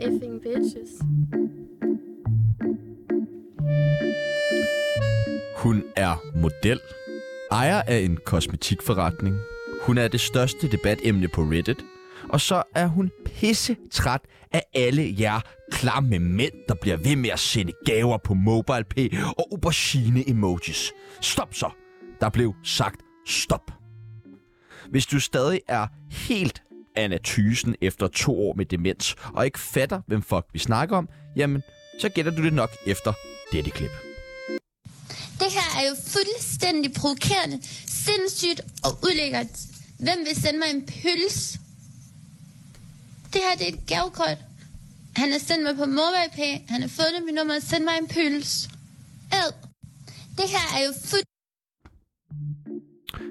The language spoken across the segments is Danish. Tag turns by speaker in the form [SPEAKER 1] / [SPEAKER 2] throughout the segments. [SPEAKER 1] effing bitches.
[SPEAKER 2] Hun er model, ejer af en kosmetikforretning. Hun er det største debatemne på Reddit. Og så er hun pisse træt af alle jer klamme mænd, der bliver ved med at sende gaver på MobilePay og aubergine-emojis. Stop så! Der blev sagt stop. Hvis du stadig er helt Anna Thysen efter to år med demens, og ikke fatter, hvem fuck vi snakker om, jamen, så gætter du det nok efter dette klip.
[SPEAKER 3] Det her er jo fuldstændig provokerende, sindssygt og ulækkert. Hvem vil sende mig en pølse? Det her det er et gavekort. Han har sendt mig på MobilePay. Han har fået det mit nummer og sendt mig en pølse. Ad. Det her er jo fuld...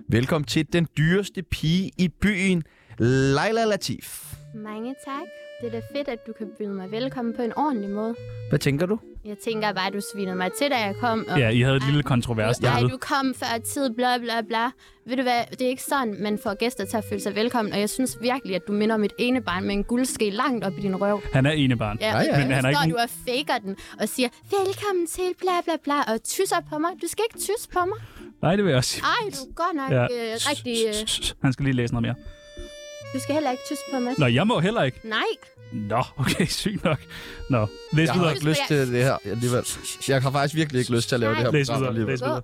[SPEAKER 2] Velkommen til den dyreste pige i byen, Leila Latif.
[SPEAKER 1] Mange tak. Det er da fedt, at du kan byde mig velkommen på en ordentlig måde.
[SPEAKER 2] Hvad tænker du?
[SPEAKER 1] Jeg tænker bare, at du svinede mig til, da jeg kom. Og
[SPEAKER 4] Ja, I havde et lille kontrovers
[SPEAKER 1] Nej,
[SPEAKER 4] derude.
[SPEAKER 1] du kom før tid, bla bla bla. Ved du hvad, det er ikke sådan, man får gæster til at føle sig velkommen, og jeg synes virkelig, at du minder om et enebarn med en guldske langt op i din røv.
[SPEAKER 4] Han er enebarn.
[SPEAKER 1] Ja,
[SPEAKER 2] ja.
[SPEAKER 1] Men
[SPEAKER 4] Men
[SPEAKER 1] han
[SPEAKER 4] han er
[SPEAKER 1] står
[SPEAKER 4] ikke-
[SPEAKER 1] du og faker den og siger, velkommen til, bla bla bla, og tysser på mig. Du skal ikke tysse på mig.
[SPEAKER 4] Nej, det vil jeg også sige.
[SPEAKER 1] Ej, du er godt nok ja. øh, rigtig... Øh,
[SPEAKER 4] Han skal lige læse noget mere.
[SPEAKER 1] du skal heller ikke tysse på mig.
[SPEAKER 4] Nå, jeg må heller ikke.
[SPEAKER 1] Nej,
[SPEAKER 4] Nå, okay, sygt nok. Nå, læs
[SPEAKER 2] Jeg har
[SPEAKER 4] videre.
[SPEAKER 2] ikke lyst til det her alligevel. Jeg har faktisk virkelig ikke lyst til at lave det her
[SPEAKER 4] Læs
[SPEAKER 2] program
[SPEAKER 4] videre.
[SPEAKER 2] alligevel.
[SPEAKER 4] Læs videre.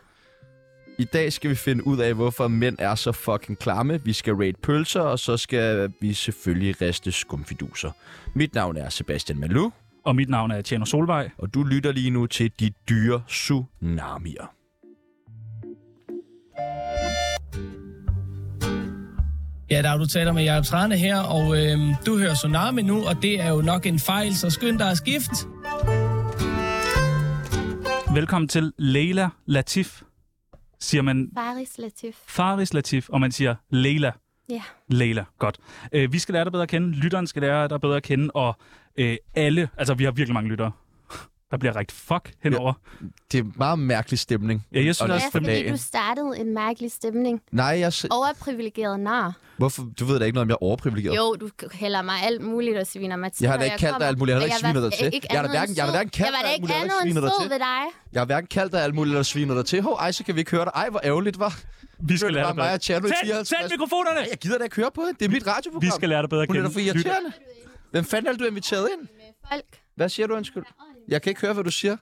[SPEAKER 2] I dag skal vi finde ud af, hvorfor mænd er så fucking klamme. Vi skal rate pølser, og så skal vi selvfølgelig riste skumfiduser. Mit navn er Sebastian Malou,
[SPEAKER 4] Og mit navn er Tjerno Solvej.
[SPEAKER 2] og du lytter lige nu til De Dyre Tsunamier.
[SPEAKER 5] Ja, der er du taler med Jacob Trane her, og øhm, du hører Tsunami nu, og det er jo nok en fejl, så skynd dig at skifte.
[SPEAKER 4] Velkommen til Leila Latif. Siger man
[SPEAKER 1] Faris Latif.
[SPEAKER 4] Faris Latif, og man siger Leila.
[SPEAKER 1] Ja.
[SPEAKER 4] Leila, godt. Øh, vi skal lære dig bedre at kende, lytteren skal lære dig bedre at kende, og øh, alle, altså vi har virkelig mange lyttere. Der bliver rigtig fuck henover.
[SPEAKER 2] Det er en meget mærkelig stemning.
[SPEAKER 4] Ja, jeg synes
[SPEAKER 2] Og
[SPEAKER 4] også,
[SPEAKER 1] Ja,
[SPEAKER 2] lidt for
[SPEAKER 1] fordi du
[SPEAKER 2] dagen.
[SPEAKER 1] startede en mærkelig stemning.
[SPEAKER 2] Nej, jeg... Se...
[SPEAKER 1] Overprivilegeret nar.
[SPEAKER 2] Hvorfor? Du ved da ikke noget om, jeg er overprivilegeret.
[SPEAKER 1] Jo, du k- hælder mig alt muligt og sviner mig til,
[SPEAKER 2] Jeg har da
[SPEAKER 1] når
[SPEAKER 2] ikke kaldt
[SPEAKER 1] kommer.
[SPEAKER 2] dig alt muligt, jeg har da
[SPEAKER 1] Og
[SPEAKER 2] ikke svinet dig til. Jeg har da hverken- jeg har da hverken kaldt
[SPEAKER 1] Jeg var
[SPEAKER 2] dig
[SPEAKER 1] da
[SPEAKER 2] alt
[SPEAKER 1] ikke
[SPEAKER 2] muligt, jeg har
[SPEAKER 1] andet
[SPEAKER 2] da ikke
[SPEAKER 1] end
[SPEAKER 2] svinet dig
[SPEAKER 1] sød
[SPEAKER 2] til.
[SPEAKER 1] ved dig.
[SPEAKER 2] Jeg har hverken kaldt dig alt muligt eller sviner dig til. Hov, ej, så kan vi ikke høre dig. Ej, hvor ærgerligt, var.
[SPEAKER 4] vi skal
[SPEAKER 2] det
[SPEAKER 4] lære
[SPEAKER 2] bare
[SPEAKER 4] dig
[SPEAKER 2] mig og Tjerno i
[SPEAKER 4] bedre. Tænd,
[SPEAKER 2] 54.
[SPEAKER 4] tænd mikrofonerne!
[SPEAKER 2] Jeg gider da ikke høre på det. Det er mit radioprogram.
[SPEAKER 4] Vi skal lære dig bedre at
[SPEAKER 2] Hun er
[SPEAKER 4] kende.
[SPEAKER 2] da for
[SPEAKER 4] Lyt-
[SPEAKER 2] irriterende. Hvem fanden er du inviteret ind?
[SPEAKER 1] Folk.
[SPEAKER 2] Hvad siger du, undskyld? Jeg kan ikke høre, hvad du siger.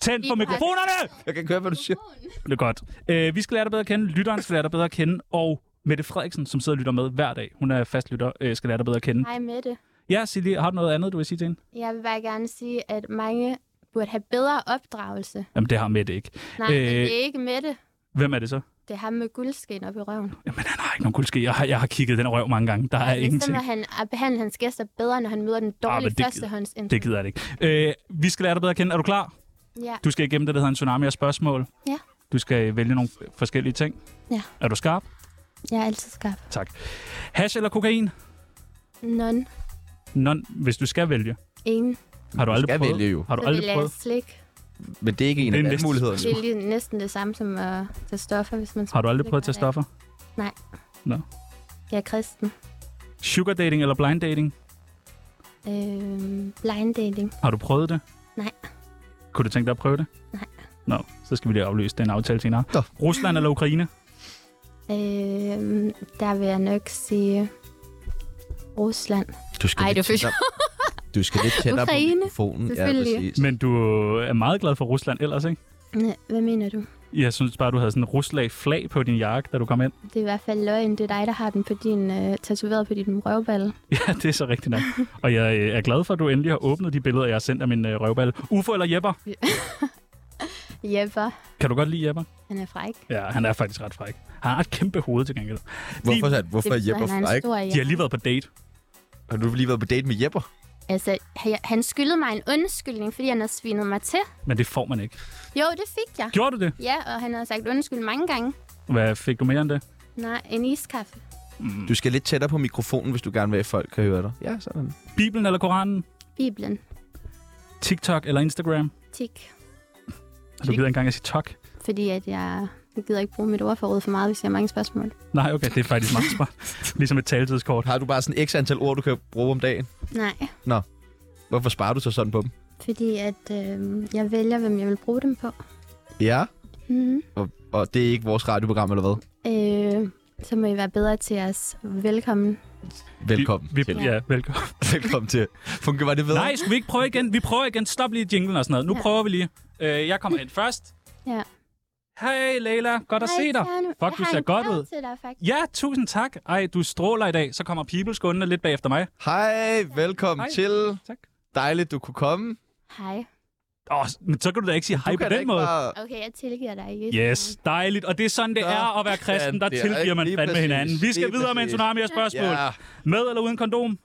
[SPEAKER 4] Tænd for mikrofonerne!
[SPEAKER 2] Jeg kan ikke høre, hvad du siger.
[SPEAKER 4] Det er godt. Øh, vi skal lære dig bedre at kende, lytteren skal lære dig bedre at kende, og Mette Frederiksen, som sidder og lytter med hver dag, hun er fastlytter, øh, skal lære dig bedre at kende.
[SPEAKER 1] Hej Mette.
[SPEAKER 4] Ja, Silje, har du noget andet, du vil sige til hende?
[SPEAKER 1] Jeg vil bare gerne sige, at mange burde have bedre opdragelse.
[SPEAKER 4] Jamen, det har Mette ikke.
[SPEAKER 1] Nej,
[SPEAKER 4] Øh.
[SPEAKER 1] øh... det er ikke Mette.
[SPEAKER 4] Hvem er det så?
[SPEAKER 1] Det er ham med guldskin op i røven.
[SPEAKER 4] Jamen, han har ikke nogen guldske. Jeg har, jeg har kigget den røv mange gange. Der er
[SPEAKER 1] Så
[SPEAKER 4] ingenting.
[SPEAKER 1] må han at behandle hans gæster bedre, når han møder den
[SPEAKER 4] Ah, men
[SPEAKER 1] dårlige
[SPEAKER 4] det-
[SPEAKER 1] ah, førstehånds
[SPEAKER 4] Det gider jeg ikke. Øh, vi skal lære dig bedre at kende. Er du klar?
[SPEAKER 1] Ja.
[SPEAKER 4] Du skal igennem det, der hedder en tsunami af spørgsmål.
[SPEAKER 1] Ja.
[SPEAKER 4] Du skal vælge nogle forskellige ting.
[SPEAKER 1] Ja.
[SPEAKER 4] Er du skarp?
[SPEAKER 1] Jeg er altid skarp.
[SPEAKER 4] Tak. Hash eller kokain?
[SPEAKER 1] None.
[SPEAKER 4] Non, hvis du skal vælge.
[SPEAKER 1] Ingen.
[SPEAKER 4] Har du, aldrig
[SPEAKER 2] skal
[SPEAKER 4] prøvet?
[SPEAKER 2] vælge jo.
[SPEAKER 4] Har du
[SPEAKER 1] Så vil
[SPEAKER 4] aldrig
[SPEAKER 1] jeg have
[SPEAKER 4] prøvet?
[SPEAKER 1] slik.
[SPEAKER 2] Men det er ikke en
[SPEAKER 4] Det er
[SPEAKER 2] af
[SPEAKER 4] næste
[SPEAKER 2] valgmulighederne.
[SPEAKER 1] Det er lige næsten det samme som at tage stoffer, hvis man
[SPEAKER 4] Har du aldrig
[SPEAKER 1] slik
[SPEAKER 4] prøvet at tage
[SPEAKER 1] hver dag.
[SPEAKER 4] stoffer?
[SPEAKER 1] Jeg er kristen.
[SPEAKER 4] Sugar dating eller blind dating?
[SPEAKER 1] Øhm, blind dating.
[SPEAKER 4] Har du prøvet det?
[SPEAKER 1] Nej.
[SPEAKER 4] Kunne du tænke dig at prøve det?
[SPEAKER 1] Nej.
[SPEAKER 4] Nå, så skal vi lige afløse den aftale senere.
[SPEAKER 2] Nå.
[SPEAKER 4] Rusland eller Ukraine?
[SPEAKER 1] Øhm, der vil jeg nok sige Rusland.
[SPEAKER 2] Du skal
[SPEAKER 1] Ej,
[SPEAKER 2] lidt
[SPEAKER 1] det er fedt.
[SPEAKER 2] tættere- Du skal lidt tættere på
[SPEAKER 1] Ukraine,
[SPEAKER 2] mikrofonen. Ja,
[SPEAKER 1] selvfølgelig.
[SPEAKER 2] præcis.
[SPEAKER 4] Men du øh, er meget glad for Rusland ellers, ikke?
[SPEAKER 1] Næ, Hvad mener du?
[SPEAKER 4] Jeg synes bare, du havde sådan en ruslag flag på din jakke, da du kom ind.
[SPEAKER 1] Det er i hvert fald løgn. Det er dig, der har den på din, øh, tatoveret på din røvballe.
[SPEAKER 4] Ja, det er så rigtigt nok. Og jeg øh, er glad for, at du endelig har åbnet de billeder, jeg har sendt af min øh, røvballe. Ufo eller Jepper?
[SPEAKER 1] Jepper.
[SPEAKER 4] Kan du godt lide Jepper?
[SPEAKER 1] Han er fræk.
[SPEAKER 4] Ja, han er faktisk ret fræk. Han har et kæmpe hoved til gengæld.
[SPEAKER 2] Hvorfor, er- hvorfor er
[SPEAKER 1] betyder,
[SPEAKER 2] Jepper
[SPEAKER 1] han har en
[SPEAKER 2] fræk?
[SPEAKER 1] stor
[SPEAKER 4] De har lige været på date.
[SPEAKER 2] Har du lige været på date med Jepper?
[SPEAKER 1] Altså, han- han skyldede mig en undskyldning, fordi han havde svinet mig til.
[SPEAKER 4] Men det får man ikke.
[SPEAKER 1] Jo, det fik jeg.
[SPEAKER 4] Gjorde du det?
[SPEAKER 1] Ja, og han havde sagt undskyld mange gange.
[SPEAKER 4] Hvad fik du mere end det?
[SPEAKER 1] Nej, en iskaffe.
[SPEAKER 4] Mm.
[SPEAKER 2] Du skal lidt tættere på mikrofonen, hvis du gerne vil, at folk kan høre dig. Ja, sådan.
[SPEAKER 4] Bibelen eller Koranen?
[SPEAKER 1] Bibelen.
[SPEAKER 4] TikTok eller Instagram? Altså,
[SPEAKER 1] Tik.
[SPEAKER 4] Du gider ikke engang at sige tok.
[SPEAKER 1] Fordi at jeg, jeg gider ikke bruge mit ordforråd for meget, hvis jeg har mange spørgsmål.
[SPEAKER 4] Nej, okay, det er faktisk meget smart. ligesom et taletidskort.
[SPEAKER 2] Har du bare sådan x antal ord, du kan bruge om dagen?
[SPEAKER 1] Nej.
[SPEAKER 2] Nå. Hvorfor sparer du så sådan på dem?
[SPEAKER 1] Fordi at øh, jeg vælger, hvem jeg vil bruge dem på.
[SPEAKER 2] Ja,
[SPEAKER 1] Mm-hmm.
[SPEAKER 2] og, og det er ikke vores radioprogram, eller hvad?
[SPEAKER 1] Øh, så må I være bedre til jeres velkommen.
[SPEAKER 2] Velkommen.
[SPEAKER 4] Vi,
[SPEAKER 2] til.
[SPEAKER 4] vi, ja, velkommen.
[SPEAKER 2] Velkommen til. Funker, var det ved?
[SPEAKER 4] Nej, skal vi ikke prøve igen? Vi prøver igen. Stop lige jinglen og sådan noget. Nu
[SPEAKER 1] Ja.
[SPEAKER 4] prøver vi lige. Øh, jeg kommer ind først.
[SPEAKER 1] Ja.
[SPEAKER 4] Hej, Leila. Godt at se dig. Fuck, du ser godt ud.
[SPEAKER 1] Til dig, faktisk.
[SPEAKER 4] Ja, tusind tak. Ej, du stråler i dag. Så kommer Peoples gående lidt bagefter mig.
[SPEAKER 2] Hej, velkommen
[SPEAKER 4] Hej.
[SPEAKER 2] til.
[SPEAKER 4] Tak.
[SPEAKER 2] Dejligt, du kunne komme.
[SPEAKER 1] Hej.
[SPEAKER 4] Åh, men så kan du da ikke sige hej
[SPEAKER 2] du
[SPEAKER 4] på
[SPEAKER 2] kan da
[SPEAKER 4] den
[SPEAKER 2] ikke
[SPEAKER 4] måde.
[SPEAKER 2] Bare...
[SPEAKER 1] Okay, jeg tilgiver dig. Ikke?
[SPEAKER 4] Yes, dejligt. Og det er sådan, det
[SPEAKER 2] Nå,
[SPEAKER 4] er at være kristen. Der
[SPEAKER 2] ja, det er
[SPEAKER 4] tilgiver man
[SPEAKER 2] lige
[SPEAKER 4] fandme
[SPEAKER 2] præcis.
[SPEAKER 4] hinanden. Vi
[SPEAKER 2] Lige
[SPEAKER 4] skal videre med en
[SPEAKER 2] præcis.
[SPEAKER 4] tsunami af spørgsmål.
[SPEAKER 2] Ja,
[SPEAKER 4] Med eller uden kondom?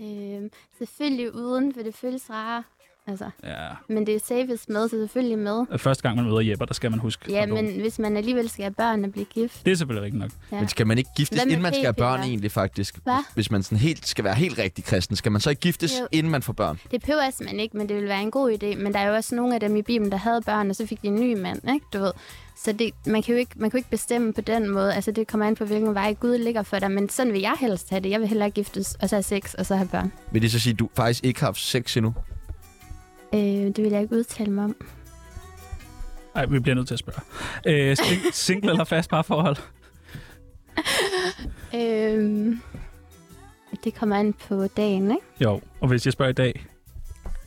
[SPEAKER 1] Øh, selvfølgelig uden, for det føles rarere. Altså,
[SPEAKER 4] Ja.
[SPEAKER 1] men det er safest med, så selvfølgelig med.
[SPEAKER 4] Første gang, man møder Jepper, der skal man huske
[SPEAKER 1] Ja,
[SPEAKER 4] kondom.
[SPEAKER 1] men hvis man alligevel skal have børn og blive gift.
[SPEAKER 4] Det er selvfølgelig rigtigt nok.
[SPEAKER 1] Ja.
[SPEAKER 2] men skal man ikke giftes,
[SPEAKER 1] Hvad med
[SPEAKER 2] inden man skal have børn
[SPEAKER 1] p-piller?
[SPEAKER 2] egentlig, faktisk?
[SPEAKER 1] Hvad?
[SPEAKER 2] Hvis man sådan helt, skal være helt rigtig kristen, skal man så ikke giftes,
[SPEAKER 1] Jo.
[SPEAKER 2] inden man får børn?
[SPEAKER 1] Det behøver altså man ikke, men det ville være en god idé. Men der er jo også nogle af dem i Bibelen, der havde børn, og så fik de en ny mand, ikke? Du ved. Så det, man, kan jo ikke, man kan jo ikke bestemme på den måde. Altså, det kommer an på, hvilken vej Gud ligger for dig. Men sådan vil jeg helst have det. Jeg vil hellere giftes, og så have sex, og så have børn.
[SPEAKER 2] Vil det så sige, at du faktisk ikke har haft sex endnu?
[SPEAKER 1] Øh, det vil jeg ikke udtale mig om.
[SPEAKER 4] Ej, vi bliver nødt til at spørge. Øh, sing- single eller fast parforhold?
[SPEAKER 1] Øh, det kommer an på dagen, ikke?
[SPEAKER 4] Jo, og hvis jeg spørger i dag...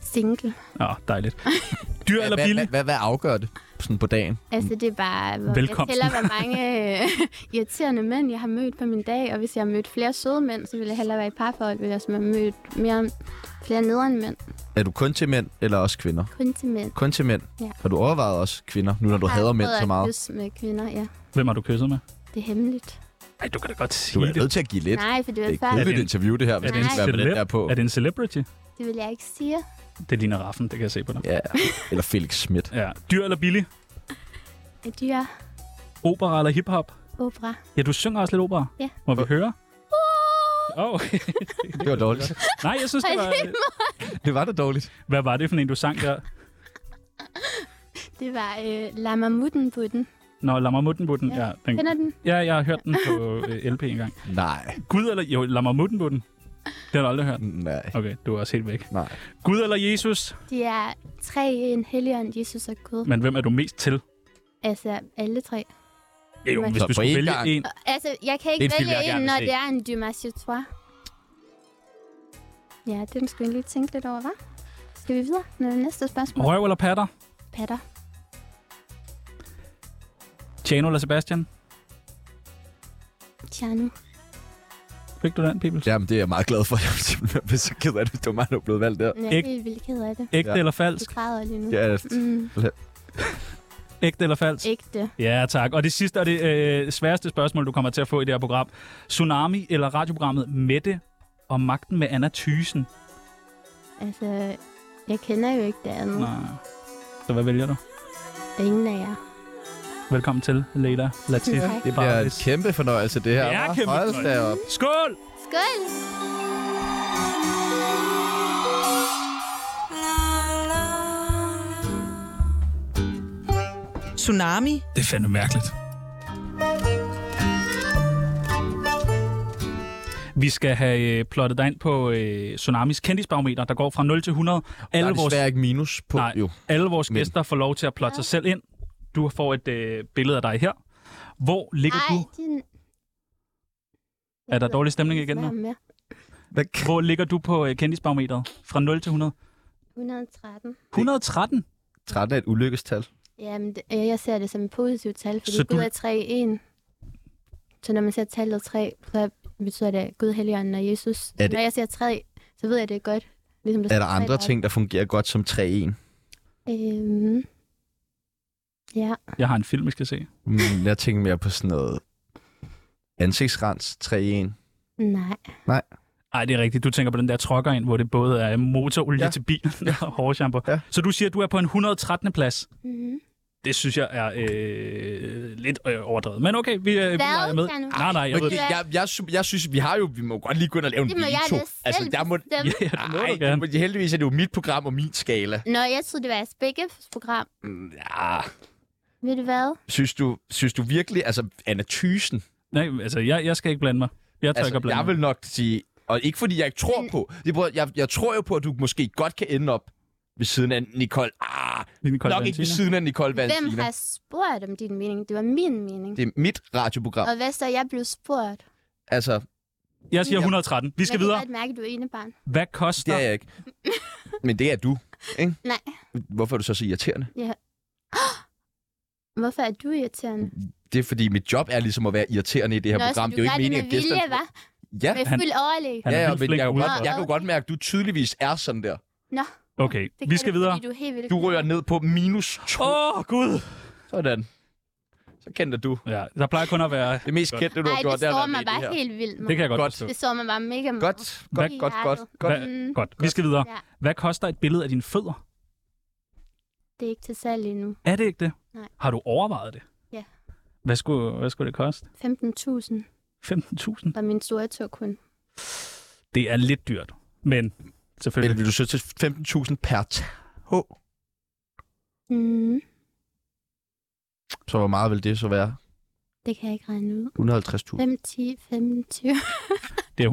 [SPEAKER 1] Single.
[SPEAKER 4] Nå, dejligt. Dyr eller
[SPEAKER 2] Hvad, hvad,
[SPEAKER 4] billig?
[SPEAKER 2] hvad, hvad afgør det sådan på dagen?
[SPEAKER 1] Altså, det er bare... Hvor
[SPEAKER 4] Velkomsten.
[SPEAKER 1] Jeg tæller, hvor mange øh, irriterende mænd, jeg har mødt på min dag. Og hvis jeg har mødt flere søde mænd, så ville jeg hellere være i parforhold. Hvis jeg også har mødt mere, flere nederen mænd.
[SPEAKER 2] Er du kun til mænd, eller også kvinder?
[SPEAKER 1] Kun til mænd.
[SPEAKER 2] Kun til mænd.
[SPEAKER 1] Ja.
[SPEAKER 2] Har du overvejet også kvinder, nu når du
[SPEAKER 1] Jeg har
[SPEAKER 2] hader mænd
[SPEAKER 1] prøvet
[SPEAKER 2] så
[SPEAKER 1] at
[SPEAKER 2] meget?
[SPEAKER 1] kysse med kvinder, ja.
[SPEAKER 4] Hvem har du kysset med?
[SPEAKER 1] Det er hemmeligt.
[SPEAKER 4] Ej, du kan da godt
[SPEAKER 2] Du
[SPEAKER 4] sige
[SPEAKER 2] er
[SPEAKER 4] det.
[SPEAKER 2] nødt til at give lidt.
[SPEAKER 1] Nej, for det
[SPEAKER 2] Det
[SPEAKER 1] var
[SPEAKER 2] er
[SPEAKER 1] før.
[SPEAKER 2] et kedeligt
[SPEAKER 4] Er det-
[SPEAKER 2] interview, det her, hvis
[SPEAKER 1] er
[SPEAKER 2] du
[SPEAKER 1] det en
[SPEAKER 2] ikke være med den der på.
[SPEAKER 4] Er det en celebrity?
[SPEAKER 1] Det vil jeg ikke sige.
[SPEAKER 4] Det ligner Raffen, det kan jeg se på dig.
[SPEAKER 2] Ja. Eller Felix Schmidt.
[SPEAKER 4] Ja. Dyr eller billig?
[SPEAKER 1] Er dyr
[SPEAKER 4] Opera eller hiphop?
[SPEAKER 1] opera.
[SPEAKER 4] Ja, du synger også lidt opera.
[SPEAKER 1] Ja.
[SPEAKER 4] Må vi høre? Åh, oh,
[SPEAKER 2] Det var dårligt.
[SPEAKER 4] nej, jeg synes, det var...
[SPEAKER 2] det var da dårligt.
[SPEAKER 4] Hvad var det for en, du sang der?
[SPEAKER 1] Det var øh, Lama Mutten Putten.
[SPEAKER 4] Nå, Lammermuttenbutten. Ja, den,
[SPEAKER 1] Kender den?
[SPEAKER 4] ja, jeg har hørt den på øh, LP engang.
[SPEAKER 2] Nej.
[SPEAKER 4] Gud eller... Jo, Lammermuttenbutten. Det har du aldrig hørt.
[SPEAKER 2] Nej.
[SPEAKER 4] Okay, du er også helt væk.
[SPEAKER 2] Nej.
[SPEAKER 4] Gud eller Jesus?
[SPEAKER 1] De er tre i en helligånd, Jesus og Gud.
[SPEAKER 4] Men hvem er du mest til?
[SPEAKER 1] Altså, alle tre.
[SPEAKER 4] Ja, jo,
[SPEAKER 1] Men-
[SPEAKER 4] hvis
[SPEAKER 2] Så
[SPEAKER 4] du
[SPEAKER 2] på
[SPEAKER 4] skulle
[SPEAKER 2] én
[SPEAKER 4] vælge
[SPEAKER 2] gang.
[SPEAKER 4] en.
[SPEAKER 1] Altså, jeg kan ikke
[SPEAKER 2] Det er en film,
[SPEAKER 1] vælge
[SPEAKER 2] jeg
[SPEAKER 1] en,
[SPEAKER 2] gerne vil
[SPEAKER 1] når
[SPEAKER 2] se.
[SPEAKER 1] det er en Dumas, jeg tror. Ja, den skulle jeg lige tænke lidt over, hva'? Skal vi videre? Nå, næste spørgsmål.
[SPEAKER 4] Røv eller patter?
[SPEAKER 1] Patter.
[SPEAKER 4] Tjano eller Sebastian?
[SPEAKER 1] Tjernu.
[SPEAKER 4] Fik du den, Pibels?
[SPEAKER 2] Jamen, det er jeg meget glad for. Jeg er simpelthen så ked af det, hvis det var mig, der var blevet valgt der.
[SPEAKER 1] Jeg er
[SPEAKER 4] Ikke-
[SPEAKER 1] helt vildt ked af det.
[SPEAKER 4] Ægte
[SPEAKER 2] Ja.
[SPEAKER 4] eller
[SPEAKER 1] Du
[SPEAKER 4] falsk?
[SPEAKER 1] græder lige nu.
[SPEAKER 2] Ja,
[SPEAKER 1] Mm,
[SPEAKER 4] Ægte eller falsk?
[SPEAKER 1] ægte.
[SPEAKER 4] Ja, tak. Og det sidste og det øh, sværeste spørgsmål, du kommer til at få i det her program. Tsunami eller radioprogrammet Mette og Magten med Anna Thysen?
[SPEAKER 1] Mm. Altså, jeg kender jo ikke det andet.
[SPEAKER 4] Nej. Så hvad vælger du?
[SPEAKER 1] Ingen af jer.
[SPEAKER 4] Velkommen til, Leila Latif.
[SPEAKER 1] Tusind tak.
[SPEAKER 2] det bliver en
[SPEAKER 4] Barnes.
[SPEAKER 2] kæmpe fornøjelse, det her.
[SPEAKER 4] Det er
[SPEAKER 2] hva'?
[SPEAKER 4] kæmpe
[SPEAKER 2] Hold da op.
[SPEAKER 4] Skål!
[SPEAKER 1] Skål!
[SPEAKER 6] Tsunami
[SPEAKER 4] Det er fandme mærkeligt. Vi skal have øh, plottet dig ind på øh, Tsunamis kendisbarometer, der går fra 0 til 100.
[SPEAKER 2] Der
[SPEAKER 4] Alle
[SPEAKER 2] er
[SPEAKER 4] vores,
[SPEAKER 2] desværre ikke minus på,
[SPEAKER 4] nej,
[SPEAKER 2] jo.
[SPEAKER 4] alle vores
[SPEAKER 2] Men-
[SPEAKER 4] gæster får lov til at plotte sig selv ind. Du får et øh, billede af dig her. Hvor ligger
[SPEAKER 1] Ej,
[SPEAKER 4] du?
[SPEAKER 1] din...
[SPEAKER 4] Er der dårlig stemning igen nu?
[SPEAKER 1] Mere.
[SPEAKER 2] Hvad kan-
[SPEAKER 4] Hvor ligger du på øh, kendisbarometeret? Fra 0 til 100?
[SPEAKER 1] 113.
[SPEAKER 4] 113?
[SPEAKER 2] 13 er et ulykkestal.
[SPEAKER 1] Jamen, det, øh, jeg ser det som et positivt tal, fordi
[SPEAKER 4] Så
[SPEAKER 1] så Gud
[SPEAKER 4] du-
[SPEAKER 1] er 3 i 1. Så når man ser tallet 3, så betyder det Gud, Helligånden og Jesus.
[SPEAKER 2] Er det-
[SPEAKER 1] Når jeg ser 3, så ved jeg, det er godt. Ligesom,
[SPEAKER 2] Er
[SPEAKER 1] står
[SPEAKER 2] der
[SPEAKER 1] tre
[SPEAKER 2] andre
[SPEAKER 1] deroppe.
[SPEAKER 2] ting, der fungerer godt som 3-1?
[SPEAKER 1] Øhm, ja,
[SPEAKER 4] Jeg har en film, vi skal se.
[SPEAKER 2] Mm, Jeg tænker mere på sådan noget ansigtsrens 3-1.
[SPEAKER 1] nej.
[SPEAKER 4] Nej, det er rigtigt. Du tænker på den der trokker ind, hvor det både er motorolie ja.
[SPEAKER 2] Ja.
[SPEAKER 4] til bilen ja. og hårshampoo. Ja.
[SPEAKER 2] Ja.
[SPEAKER 4] Så du siger, at du er på en 113. plads.
[SPEAKER 1] Mm-hmm.
[SPEAKER 4] Det synes jeg er øh, lidt øh, overdrevet. Men okay, vi, øh, vi leger med.
[SPEAKER 1] Jan?
[SPEAKER 4] Nej, nej. Jeg,
[SPEAKER 2] Okay,
[SPEAKER 1] ved-
[SPEAKER 2] jeg, jeg, sy- jeg synes, vi har jo, vi må godt lige gå ind og lave en
[SPEAKER 1] Det må jeg
[SPEAKER 2] veto.
[SPEAKER 1] da selv
[SPEAKER 2] altså, der må,
[SPEAKER 1] bestemme.
[SPEAKER 4] ja, det må du
[SPEAKER 2] Ej,
[SPEAKER 4] gerne.
[SPEAKER 2] men heldigvis er det jo mit program og min skala.
[SPEAKER 1] Nå, jeg troede, det var jeres begge program.
[SPEAKER 2] Mm, Ja.
[SPEAKER 1] Ved du hvad?
[SPEAKER 2] Synes du, synes du virkelig, altså Anna Thysen,
[SPEAKER 4] Nej, altså, jeg, jeg skal ikke blande mig. Jeg tør altså,
[SPEAKER 2] altså,
[SPEAKER 4] ikke at blande
[SPEAKER 2] jeg
[SPEAKER 4] mig.
[SPEAKER 2] vil nok sige Og ikke fordi jeg ikke tror på. Jeg, prøver- jeg, jeg tror jo på, at du måske godt kan ende op ved siden af Nicole. Ah,
[SPEAKER 4] Nicole
[SPEAKER 2] nok ikke ved
[SPEAKER 4] Valentina.
[SPEAKER 2] siden af Nicole
[SPEAKER 1] Hvem
[SPEAKER 2] Valentina.
[SPEAKER 1] har spurgt om din mening? Det var min mening.
[SPEAKER 2] Det er mit radioprogram.
[SPEAKER 1] Og hvad så jeg blev spurgt?
[SPEAKER 2] Altså,
[SPEAKER 4] Jeg siger 113. Vi skal
[SPEAKER 1] jeg
[SPEAKER 4] videre.
[SPEAKER 1] Jeg kan godt mærke, at du er ene barn.
[SPEAKER 4] Hvad
[SPEAKER 2] det
[SPEAKER 4] koster...
[SPEAKER 2] er jeg ikke. Men det er du, ikke?
[SPEAKER 1] Nej.
[SPEAKER 2] Hvorfor er du så så irriterende?
[SPEAKER 1] Hvorfor er du irriterende?
[SPEAKER 2] Det er fordi, mit job er ligesom at være irriterende i det her
[SPEAKER 1] Nå, så
[SPEAKER 2] program.
[SPEAKER 1] du
[SPEAKER 2] Det er jo
[SPEAKER 1] gør
[SPEAKER 2] ikke meningen,
[SPEAKER 1] med
[SPEAKER 2] at gæsterne...
[SPEAKER 1] vilje, hva?
[SPEAKER 2] Ja,
[SPEAKER 1] Med
[SPEAKER 4] Han-
[SPEAKER 1] fuld overlæg.
[SPEAKER 4] Han er
[SPEAKER 2] ja, ja,
[SPEAKER 4] vildt
[SPEAKER 2] men
[SPEAKER 4] flink
[SPEAKER 2] jeg kan, jo
[SPEAKER 4] udenfor.
[SPEAKER 2] godt, jeg kan jo godt mærke, at du tydeligvis er sådan der.
[SPEAKER 1] Nå,
[SPEAKER 4] Okay,
[SPEAKER 1] det
[SPEAKER 4] vi
[SPEAKER 1] kan
[SPEAKER 4] skal
[SPEAKER 1] du,
[SPEAKER 4] videre.
[SPEAKER 1] Fordi du er helt vildt.
[SPEAKER 2] Du ryger ned på minus 2.
[SPEAKER 4] Åh, oh, Gud!
[SPEAKER 2] Sådan. Så kendte du.
[SPEAKER 4] Ja, der plejer kun at være...
[SPEAKER 2] Det mest kendte, du
[SPEAKER 1] Nej,
[SPEAKER 2] har
[SPEAKER 1] det
[SPEAKER 2] gjort, er at
[SPEAKER 1] står
[SPEAKER 2] være
[SPEAKER 1] mig
[SPEAKER 2] med i
[SPEAKER 1] bare
[SPEAKER 2] det her.
[SPEAKER 1] helt vildt.
[SPEAKER 4] Det kan jeg godt
[SPEAKER 2] Godt.
[SPEAKER 4] forstå.
[SPEAKER 1] Det står mig bare mega meget.
[SPEAKER 2] Godt, godt,
[SPEAKER 1] Hvad-
[SPEAKER 2] godt, godt, godt.
[SPEAKER 4] Hvad-
[SPEAKER 1] Mm.
[SPEAKER 4] Godt, vi skal videre.
[SPEAKER 1] Ja.
[SPEAKER 4] Hvad koster et billede af dine fødder?
[SPEAKER 1] Det er ikke til salg endnu.
[SPEAKER 4] Er det ikke det?
[SPEAKER 1] Nej.
[SPEAKER 4] Har du overvejet det?
[SPEAKER 1] Ja.
[SPEAKER 4] Hvad skulle, hvad skulle det koste?
[SPEAKER 1] 15.000
[SPEAKER 4] 15.000?
[SPEAKER 1] var min store tur kun.
[SPEAKER 4] Det er lidt dyrt, men
[SPEAKER 2] Eller
[SPEAKER 4] selvfølgelig.
[SPEAKER 2] vil du så til 15.000 per H?
[SPEAKER 1] Mm.
[SPEAKER 2] Så hvor meget vil det så være?
[SPEAKER 1] Det kan jeg ikke regne ud.
[SPEAKER 2] 150.000.
[SPEAKER 1] 5, 10, 25.
[SPEAKER 4] Det er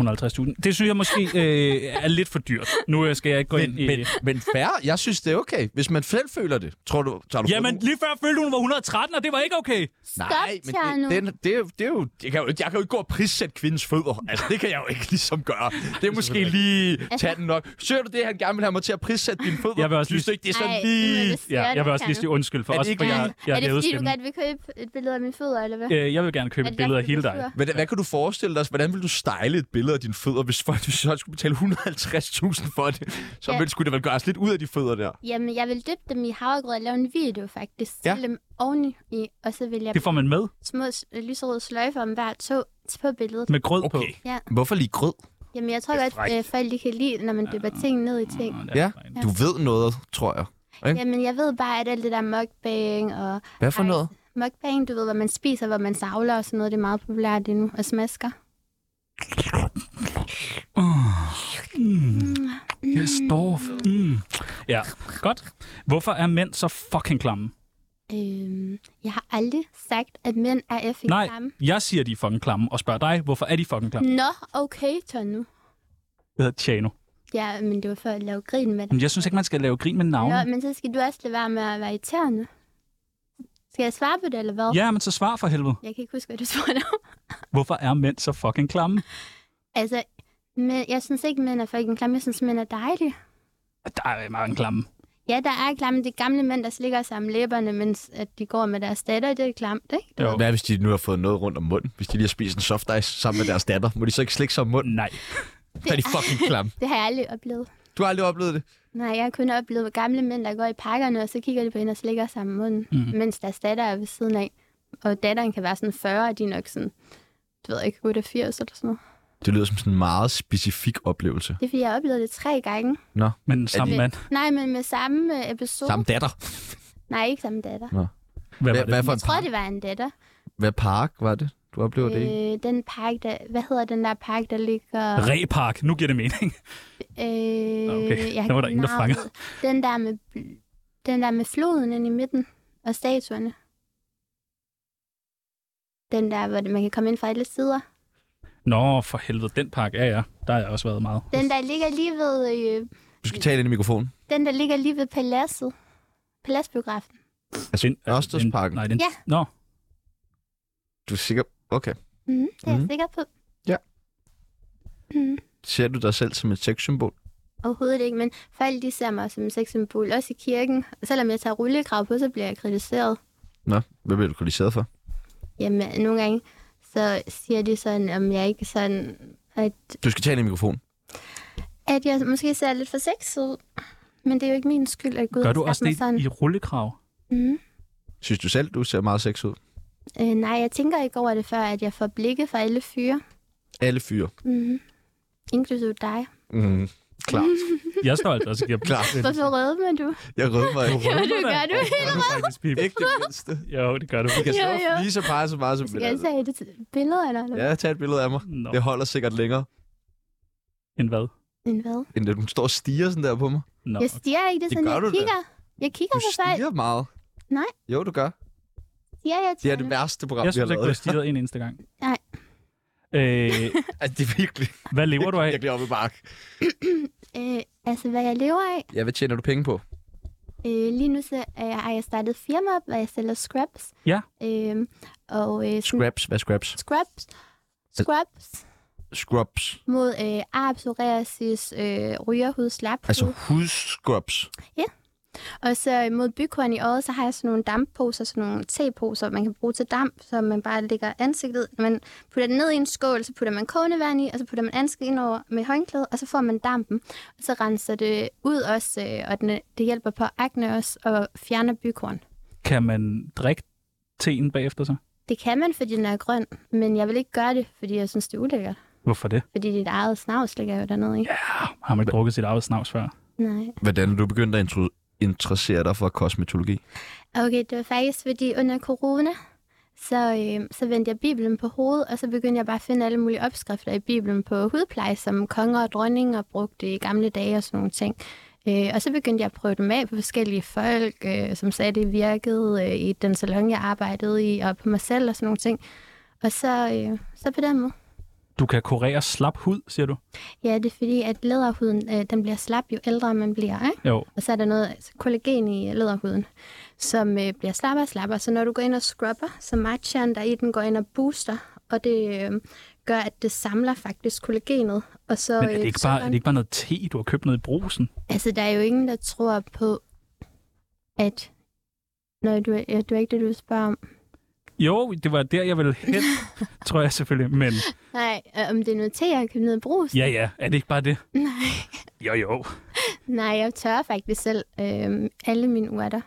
[SPEAKER 4] 150.000. Det synes jeg måske øh, er lidt for dyrt. Nu øh, skal jeg ikke gå ind
[SPEAKER 2] Men,
[SPEAKER 4] i...
[SPEAKER 2] men, men fair, jeg synes, det er okay. Hvis man selv føler det, tror du... Tager du
[SPEAKER 4] Jamen, lige før følte hun var 113, og det var ikke okay.
[SPEAKER 1] Stop,
[SPEAKER 2] Nej, men
[SPEAKER 1] Tjerno.
[SPEAKER 2] det, den, det, er jo- det er jo... Jeg kan jo, ikke- jeg kan jo ikke gå og prissætte kvindens fødder. Altså, det kan jeg jo ikke ligesom gøre. Det er måske lige
[SPEAKER 1] Altså-
[SPEAKER 2] tage den nok. Søger du det, han gerne vil have mig til at prissætte dine fødder?
[SPEAKER 4] Jeg vil også
[SPEAKER 2] synes du
[SPEAKER 4] lige-
[SPEAKER 2] ikke, det er sådan
[SPEAKER 1] Ej, det må
[SPEAKER 2] lige...
[SPEAKER 1] du-
[SPEAKER 4] Ja, jeg vil også lige sige undskyld for
[SPEAKER 2] Er det
[SPEAKER 4] os,
[SPEAKER 2] ikke-
[SPEAKER 4] for jeg, jeg
[SPEAKER 1] er det fordi, du
[SPEAKER 4] stemmen.
[SPEAKER 1] godt vil købe et billede af mine fødder, eller hvad?
[SPEAKER 4] Øh, jeg vil gerne købe
[SPEAKER 1] Er det
[SPEAKER 4] et billede af
[SPEAKER 1] derfor,
[SPEAKER 4] hele
[SPEAKER 1] du
[SPEAKER 4] dig.
[SPEAKER 1] er
[SPEAKER 2] Hvad, hvad kan du forestille dig? Hvordan vil du style et billede af dine fødder, hvis folk hvis folk skulle betale 150.000 for det? Så
[SPEAKER 1] Ja.
[SPEAKER 2] ja. skulle det vel gøres lidt ud af de fødder der.
[SPEAKER 1] Jamen, jeg vil dyppe dem i havregrød og lave en video, faktisk.
[SPEAKER 2] Ja.
[SPEAKER 1] Stille dem oveni, i, og så vil jeg
[SPEAKER 4] Det får man med,
[SPEAKER 1] små s- øh, lyserøde sløjfer om hver tog på billedet.
[SPEAKER 4] med grød på.
[SPEAKER 1] Ja.
[SPEAKER 2] Hvorfor lige grød?
[SPEAKER 1] Jamen, jeg tror
[SPEAKER 4] Det er Ah.
[SPEAKER 1] godt, at øh, folk de kan lide, når man dypper ting ned i ting.
[SPEAKER 4] Nå, det er
[SPEAKER 2] Ja,
[SPEAKER 4] fint.
[SPEAKER 2] du ved noget, tror jeg. ikke?
[SPEAKER 1] Jamen, jeg ved bare, at alt det der mukbang og...
[SPEAKER 2] Hvad for
[SPEAKER 1] Ej.
[SPEAKER 2] noget?
[SPEAKER 1] Mukbang, du ved, hvad man spiser, hvor man savler og sådan noget, det er meget populært lige nu. Og smasker.
[SPEAKER 4] Jeg står... Mm. Ja, godt. Hvorfor er mænd så fucking klamme?
[SPEAKER 1] Øhm, jeg har aldrig sagt, at mænd er effektive.
[SPEAKER 4] Nej, jeg siger, de er fucking klamme, og spørger dig, hvorfor er de fucking klamme?
[SPEAKER 1] Nå, okay, tør nu.
[SPEAKER 4] Jeg hedder Tjano.
[SPEAKER 1] Ja, men det var for at lave grin med dig.
[SPEAKER 4] Men jeg synes ikke, man skal lave grin med navne.
[SPEAKER 1] Nå, men så skal du også lade være med at være irriterende. Skal jeg svare på det, eller hvad?
[SPEAKER 4] Ja, men så svar for helvede.
[SPEAKER 1] Jeg kan ikke huske, hvad du spurgte om.
[SPEAKER 4] Hvorfor er mænd så fucking klamme?
[SPEAKER 1] Altså, men jeg synes ikke, mænd er fucking klamme. Jeg synes, mænd er dejlige.
[SPEAKER 4] Der er mange klamme.
[SPEAKER 1] Ja, der er klamme. Det er gamle mænd, der slikker sig om læberne, mens at de går med deres datter. Det er klamt, ikke?
[SPEAKER 4] Jo.
[SPEAKER 2] Hvad hvis de nu har fået noget rundt om munden? Hvis de lige har spist en soft ice sammen med deres datter, må de så ikke slikke sig om munden?
[SPEAKER 4] Nej.
[SPEAKER 2] Så er de fucking klamme.
[SPEAKER 1] Det har jeg aldrig oplevet.
[SPEAKER 2] Du har aldrig oplevet det.
[SPEAKER 1] Nej, jeg har kun oplevet gamle mænd, der går i pakkerne, og så kigger de på hende og slikker sig om munden,
[SPEAKER 2] Mhm.
[SPEAKER 1] mm. mens deres datter er ved siden af. Og datteren kan være sådan 40, og de er nok sådan, du ved ikke, 88 eller sådan noget.
[SPEAKER 2] Det lyder som sådan en meget specifik oplevelse.
[SPEAKER 1] Det er, fordi jeg oplevede det tre gange.
[SPEAKER 2] Nå.
[SPEAKER 4] Men samme
[SPEAKER 2] de-
[SPEAKER 4] mand.
[SPEAKER 1] Nej, men med samme øh, episode.
[SPEAKER 2] Samme datter.
[SPEAKER 1] Nej, ikke samme datter.
[SPEAKER 4] Hvad
[SPEAKER 2] Hvad,
[SPEAKER 4] var det?
[SPEAKER 2] hvad for
[SPEAKER 1] Jeg
[SPEAKER 2] en
[SPEAKER 1] tror,
[SPEAKER 2] park?
[SPEAKER 1] det var en datter.
[SPEAKER 2] Hvad park var det? Du oplever det ikke?
[SPEAKER 1] Øh, den park, der, hvad hedder den der park, der ligger...
[SPEAKER 4] Repark. Nu giver det mening.
[SPEAKER 1] Øh,
[SPEAKER 4] Okay,
[SPEAKER 1] jeg
[SPEAKER 4] der var der ingen, der
[SPEAKER 1] har
[SPEAKER 4] fangede.
[SPEAKER 1] navnet. Den der med, bl- den der med floden inde i midten, og statuerne. Den der, hvor det- man kan komme ind fra alle sider.
[SPEAKER 4] Nå, for helvede. Den park er jeg. Der har jeg også været meget.
[SPEAKER 1] Den der ligger lige ved, øh,
[SPEAKER 2] Du skal tale ind i mikrofonen.
[SPEAKER 1] den der ligger lige ved paladset. Paladsbiografen.
[SPEAKER 2] Altså,
[SPEAKER 4] Den-
[SPEAKER 2] Ørstedsparken.
[SPEAKER 4] Nej, den...
[SPEAKER 1] Ja.
[SPEAKER 4] Nå,
[SPEAKER 2] Du er sikker? Okay.
[SPEAKER 1] Mm, det er jeg
[SPEAKER 2] Mhm.
[SPEAKER 1] sikker på.
[SPEAKER 2] Ser du dig selv som et sexsymbol?
[SPEAKER 1] Overhovedet ikke, men folk de ser mig som en sexsymbol, også i kirken. Og selvom jeg tager rullekrav på, så bliver jeg kritiseret.
[SPEAKER 2] Nå, hvad bliver du kritiseret for?
[SPEAKER 1] Jamen, nogle gange, så siger de sådan, om jeg ikke sådan, at
[SPEAKER 2] Du skal tale i mikrofonen.
[SPEAKER 1] at jeg måske ser lidt for sexet ud. Men det er jo ikke min skyld, at Gud
[SPEAKER 4] gør
[SPEAKER 1] har
[SPEAKER 4] du
[SPEAKER 1] skabt
[SPEAKER 4] også
[SPEAKER 1] mig
[SPEAKER 4] det
[SPEAKER 1] sådan.
[SPEAKER 4] i rullekrav?
[SPEAKER 1] Mm.
[SPEAKER 2] Synes du selv, du ser meget sex ud?
[SPEAKER 1] Øh, nej, jeg tænker ikke over det før, at jeg får blikke fra alle fyre,
[SPEAKER 2] Alle fyre.
[SPEAKER 1] mm. inklusive dig.
[SPEAKER 2] Mm, klar.
[SPEAKER 4] Jeg står altså også og giver...
[SPEAKER 2] Klar.
[SPEAKER 1] Hvorfor rødmer du?
[SPEAKER 2] Jeg rødmer mig.
[SPEAKER 1] Jamen, du gør du
[SPEAKER 4] Gør du faktisk, Pip?
[SPEAKER 2] Ikke det mindste.
[SPEAKER 4] Jo, det gør du.
[SPEAKER 2] Jeg kan
[SPEAKER 1] Jo,
[SPEAKER 2] stå
[SPEAKER 1] jo.
[SPEAKER 2] og flise og pege så meget som
[SPEAKER 1] Skal jeg tage et billede eller noget?
[SPEAKER 2] altså- Ja, tag et billede af mig.
[SPEAKER 4] Nå,
[SPEAKER 2] Det holder sikkert længere,
[SPEAKER 4] en hvad?
[SPEAKER 1] Men hvad?
[SPEAKER 2] end at hun står og stiger sådan der på mig.
[SPEAKER 4] Nå,
[SPEAKER 1] Jeg stiger ikke, det er
[SPEAKER 2] Det
[SPEAKER 1] sådan,
[SPEAKER 2] gør
[SPEAKER 1] jeg
[SPEAKER 2] du da.
[SPEAKER 1] kigger. Jeg kigger
[SPEAKER 2] Du
[SPEAKER 1] på folk.
[SPEAKER 2] stiger meget.
[SPEAKER 1] Nej.
[SPEAKER 2] Jo, du gør.
[SPEAKER 1] Stiger jeg
[SPEAKER 2] Det er
[SPEAKER 1] til
[SPEAKER 2] det værste program,
[SPEAKER 4] jeg
[SPEAKER 2] vi har
[SPEAKER 4] synes ikke, du har
[SPEAKER 2] lavet.
[SPEAKER 4] stirret en eneste gang.
[SPEAKER 1] Nej.
[SPEAKER 4] Øh,
[SPEAKER 2] Altså, det er virkelig,
[SPEAKER 4] hvad lever du af?
[SPEAKER 2] virkelig oppe i bark.
[SPEAKER 1] Øh, altså, hvad jeg lever af?
[SPEAKER 2] Ja, hvad tjener du penge på?
[SPEAKER 1] Øh, lige nu så er jeg, har jeg startet et firma op, hvor jeg sælger scraps.
[SPEAKER 4] Ja.
[SPEAKER 1] Øh, og øh, sådan-
[SPEAKER 2] Scraps. Hvad er scraps?
[SPEAKER 1] scraps. Scraps
[SPEAKER 2] Scrubs.
[SPEAKER 1] mod øh, arb, psoriasis, øh, rygerhud, slaphud.
[SPEAKER 2] Altså hudscrubs.
[SPEAKER 1] Og så mod bykorn i øjet, så har jeg sådan nogle dampposer, sådan nogle teposer, man kan bruge til damp, så man bare lægger ansigtet. Når man putter det ned i en skål, så putter man kogende vand i, og så putter man ansigtet ind over med håndklæde, og så får man dampen. Og så renser det ud også, øh, og den, det hjælper på akne også, og fjerner bykorn.
[SPEAKER 4] Kan man drikke teen bagefter så?
[SPEAKER 1] Det kan man, fordi den er grøn, men jeg vil ikke gøre det, fordi jeg synes, det er ulækkert.
[SPEAKER 4] Hvorfor det?
[SPEAKER 1] Fordi dit eget snavs ligger jo dernede, ikke?
[SPEAKER 4] Ah, Har man ikke drukket sit eget snavs før?
[SPEAKER 1] Nej.
[SPEAKER 2] Hvordan er du begyndt at intro- interessere dig for kosmetologi?
[SPEAKER 1] Okay, det var faktisk, fordi under corona, så, øh, så vendte jeg Bibelen på hovedet, og så begyndte jeg bare at finde alle mulige opskrifter i Bibelen på hudpleje, som konger og dronninger brugte i gamle dage og sådan nogle ting. Øh, og så begyndte jeg at prøve dem af på forskellige folk, øh, som sagde, det virkede øh, i den salon, jeg arbejdede i, og på mig selv og sådan nogle ting. Og så, øh, så på den måde.
[SPEAKER 4] Du kan kurere slap hud, siger du?
[SPEAKER 1] Ja, det er fordi, at læderhuden, øh, den bliver slap, jo ældre man bliver, ikke?
[SPEAKER 4] Jo.
[SPEAKER 1] Og så er der noget altså kollagen i læderhuden, som øh, bliver slappere og slappere. Så når du går ind og scrubber, så matchaen der i den går ind og booster, og det øh, gør, at det samler faktisk kollagenet. Og så,
[SPEAKER 4] Men er det,
[SPEAKER 1] øh,
[SPEAKER 4] ikke
[SPEAKER 1] så
[SPEAKER 4] bare, er det ikke bare noget te, du har købt ned i brusen?
[SPEAKER 1] Altså, der er jo ingen, der tror på, at... Nå, du, ja, det var ikke det, du spørger om.
[SPEAKER 4] Jo, det var der, jeg ville hen, tror jeg selvfølgelig. Men
[SPEAKER 1] Nej, øh, om det er noget te, jeg har købt ned i brus?
[SPEAKER 4] ja, ja, er det ikke bare det?
[SPEAKER 1] Nej.
[SPEAKER 4] Jo, jo.
[SPEAKER 1] Nej, jeg tørrer faktisk selv øh, alle mine urter.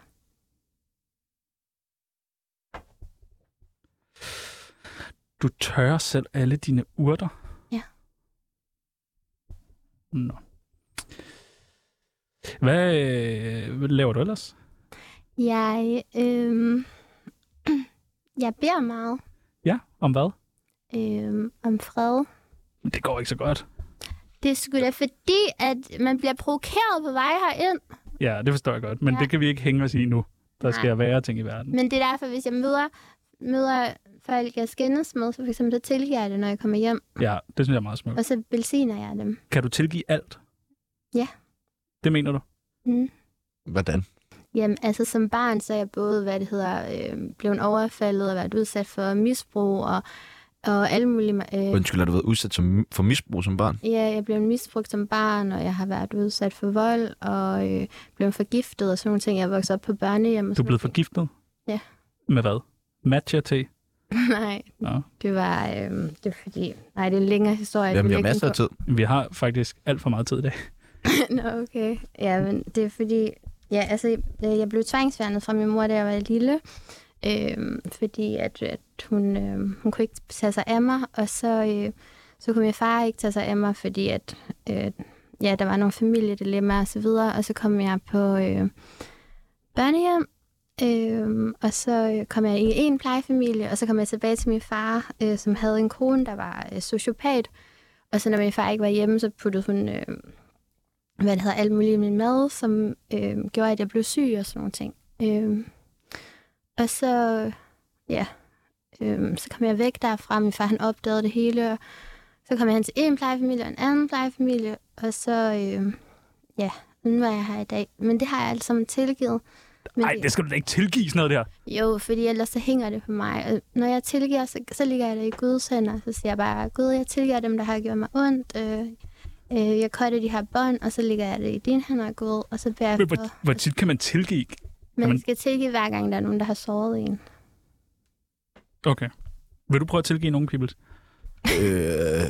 [SPEAKER 4] Du tørrer selv alle dine urter?
[SPEAKER 1] Ja.
[SPEAKER 4] Nå. Hvad, øh, hvad laver du ellers?
[SPEAKER 1] Jeg, øh, jeg beder meget
[SPEAKER 4] Ja, om hvad?
[SPEAKER 1] øh, om fred.
[SPEAKER 4] Men Det går ikke så godt.
[SPEAKER 1] Det er sgu da fordi, at man bliver provokeret på vej herind.
[SPEAKER 4] Ja, det forstår jeg godt, men ja.
[SPEAKER 1] Ja.
[SPEAKER 4] det kan vi ikke hænge os i nu. Der
[SPEAKER 1] Nej.
[SPEAKER 4] skal være ting i verden.
[SPEAKER 1] Men det er derfor, hvis jeg møder, møder folk, jeg skændes med, så for eksempel så tilgiver jeg det, når jeg kommer hjem,
[SPEAKER 4] Ja, det synes jeg er meget smukt.
[SPEAKER 1] og så velsigner jeg dem.
[SPEAKER 4] Kan du tilgive alt?
[SPEAKER 1] Ja.
[SPEAKER 4] Det mener du?
[SPEAKER 1] Mm.
[SPEAKER 2] Hvordan?
[SPEAKER 1] Jamen, altså som barn, så er jeg både, hvad det hedder, øh, blevet overfaldet og været udsat for misbrug og, og alle mulige... Øh,
[SPEAKER 2] Undskyld, har du været udsat som, for misbrug som barn?
[SPEAKER 1] ja, jeg blev misbrugt som barn, og jeg har været udsat for vold og øh, blevet forgiftet og sådan nogle ting. Jeg voksede op på børnehjem. Og
[SPEAKER 4] Du
[SPEAKER 1] sådan
[SPEAKER 4] er blevet forgiftet?
[SPEAKER 1] Ja.
[SPEAKER 4] Med hvad? Matcha te?
[SPEAKER 1] Nej,
[SPEAKER 4] Nå.
[SPEAKER 1] det var... Øh, det er fordi... Nej, det er en længere historie.
[SPEAKER 2] Jamen,
[SPEAKER 1] vil
[SPEAKER 2] jeg har
[SPEAKER 1] ikke
[SPEAKER 2] masser af
[SPEAKER 1] kunne-
[SPEAKER 2] tid.
[SPEAKER 4] Vi har faktisk alt for meget tid i dag.
[SPEAKER 1] Nå, okay. Ja, men det er fordi... Ja, altså, øh, jeg blev tvangsfjernet fra min mor, da jeg var lille. Øh, fordi at, at hun, øh, hun kunne ikke tage sig af mig, og så, øh, så kunne min far ikke tage sig af mig, fordi at, øh, ja, der var nogle familiedilemmaer og så videre, og så kom jeg på øh, børnehjem, øh, og så øh, kom jeg i en plejefamilie, og så kom jeg tilbage til min far, øh, som havde en kone, der var øh, sociopat, og så når min far ikke var hjemme, så puttede hun øh, hvad det hedder, alt muligt i min mad, som øh, gjorde, at jeg blev syg og sådan nogle ting. Øh, og så, ja, øh, så kom jeg væk derfra. Min far, han opdagede det hele. Og så kom jeg hen til en plejefamilie og en anden plejefamilie. Og så, øh, ja, nu er jeg her i dag. Men det har jeg alt sammen tilgivet. Men
[SPEAKER 4] Nej, det skal du da ikke tilgive sådan noget der.
[SPEAKER 1] jo, fordi ellers så hænger det på mig. Og når jeg tilgiver, så, så ligger jeg det i Guds hænder. Så siger jeg bare, Gud, jeg tilgiver dem, der har gjort mig ondt. Øh, øh, jeg kører de her bånd, og så ligger jeg det i dine hænder, Gud. Og så beder jeg
[SPEAKER 4] Men
[SPEAKER 1] for,
[SPEAKER 4] hvor, hvor tit kan man tilgive?
[SPEAKER 1] man
[SPEAKER 4] jamen-
[SPEAKER 1] skal tilgive hver gang, der er nogen, der har såret en.
[SPEAKER 4] Okay. Vil du prøve at tilgive nogen, people?
[SPEAKER 2] Øh,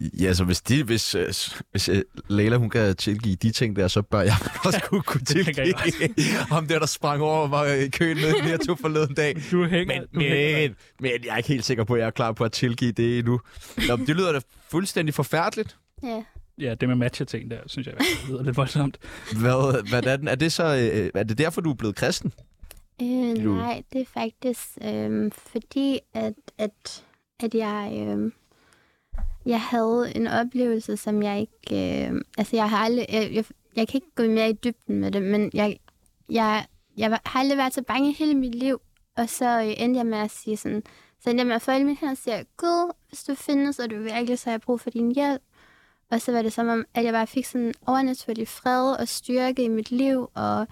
[SPEAKER 2] ja, så hvis, de, hvis, øh, s- hvis øh, Leila, hun kan tilgive de ting der, så bør jeg også kunne, kunne
[SPEAKER 4] det tænker
[SPEAKER 2] tilgive
[SPEAKER 4] jeg
[SPEAKER 2] ham der, der sprang over mig i køen nede i Netto forleden dag.
[SPEAKER 4] Du hænger...
[SPEAKER 2] Men,
[SPEAKER 4] du hænger.
[SPEAKER 2] men, men jeg er ikke helt sikker på, at jeg er klar på at tilgive det endnu. Nå, men det lyder da fuldstændig forfærdeligt.
[SPEAKER 1] Ja.
[SPEAKER 4] Ja, det med matcha-ting der, synes jeg, det lyder lidt voldsomt.
[SPEAKER 2] Hvad, hvordan, er, det så, øh, er det derfor, du er blevet kristen?
[SPEAKER 1] Øh,
[SPEAKER 2] Du-
[SPEAKER 1] nej, det er faktisk øh, fordi, at, at, at jeg, øh, jeg havde en oplevelse, som jeg ikke... Øh, altså, jeg har aldrig... Jeg, jeg, jeg kan ikke gå mere i dybden med det, men jeg, jeg, jeg var- har aldrig været så bange i hele mit liv. Og så øh, endte jeg med at sige sådan, Så endte jeg med at folde mine hænder og siger, Gud, hvis du findes, og du virkelig, så har jeg brug for din hjælp. Og så var det som om, at jeg bare fik sådan en overnaturlig fred og styrke i mit liv, og,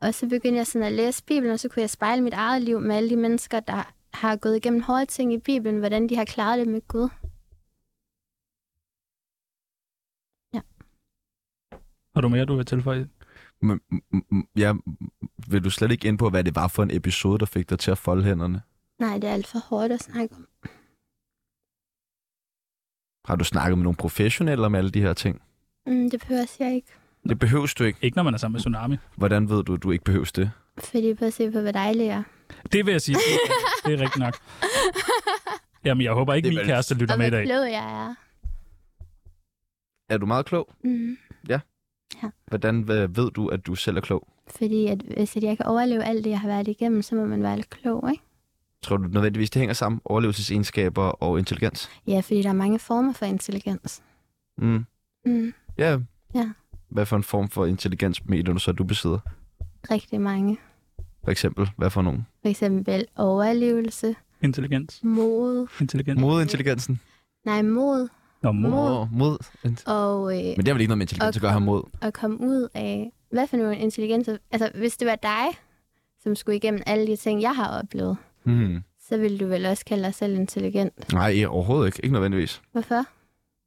[SPEAKER 1] og så begyndte jeg sådan at læse Bibelen, og så kunne jeg spejle mit eget liv med alle de mennesker, der har gået igennem hårde ting i Bibelen, hvordan de har klaret det med Gud.
[SPEAKER 4] Har du mere, du vil tilføje?
[SPEAKER 2] Men, m- m- ja, m- vil du slet ikke ind på, hvad det var for en episode, der fik dig til at folde hænderne?
[SPEAKER 1] Nej, det er alt for hårdt at snakke om.
[SPEAKER 2] Har du snakket med nogle professionelle om alle de her ting?
[SPEAKER 1] Mm, det behøver jeg ikke.
[SPEAKER 2] Det behøves du ikke.
[SPEAKER 4] Ikke når man er sammen med Tsunami.
[SPEAKER 2] Hvordan ved du, at du ikke behøves det?
[SPEAKER 1] Fordi på at se på, hvor dejlig jeg er.
[SPEAKER 4] Det vil jeg sige. Det er rigtigt nok. Jamen, jeg håber ikke,
[SPEAKER 2] Det er
[SPEAKER 4] min
[SPEAKER 2] vel-
[SPEAKER 4] kæreste lytter
[SPEAKER 1] Og
[SPEAKER 4] med i
[SPEAKER 1] hvor
[SPEAKER 4] dag.
[SPEAKER 1] klog jeg er.
[SPEAKER 2] Er du meget klog?
[SPEAKER 1] Mm.
[SPEAKER 2] Hvordan øh, ved du, at du selv er klog?
[SPEAKER 1] Fordi at, hvis at jeg kan overleve alt det, jeg har været igennem, så må man være lidt klog, ikke?
[SPEAKER 2] Tror du nødvendigvis, det hænger sammen? Overlevelsesegenskaber og intelligens?
[SPEAKER 1] Ja, fordi der er mange former for intelligens.
[SPEAKER 2] Mm.
[SPEAKER 1] Mm.
[SPEAKER 2] Ja.
[SPEAKER 1] Ja.
[SPEAKER 2] Hvad for en form for intelligens mener du så, at du besidder?
[SPEAKER 1] Rigtig mange.
[SPEAKER 2] For eksempel, hvad for nogen?
[SPEAKER 1] For eksempel overlevelse,
[SPEAKER 4] Intelligens.
[SPEAKER 1] mod,
[SPEAKER 4] Intelligens.
[SPEAKER 2] Modintelligensen.
[SPEAKER 1] nej, mod
[SPEAKER 4] Nå, mod.
[SPEAKER 1] Mod.
[SPEAKER 2] Mod. mod. int-
[SPEAKER 1] og øh,
[SPEAKER 2] Men det har vel ikke noget med intelligens at gøre her mod?
[SPEAKER 1] at komme ud af, hvad for nogle intelligenser, altså hvis det var dig, som skulle igennem alle de ting, jeg har oplevet,
[SPEAKER 2] Mm.
[SPEAKER 1] så ville du vel også kalde dig selv intelligent.
[SPEAKER 2] Nej, overhovedet ikke. Ikke nødvendigvis.
[SPEAKER 1] Hvorfor?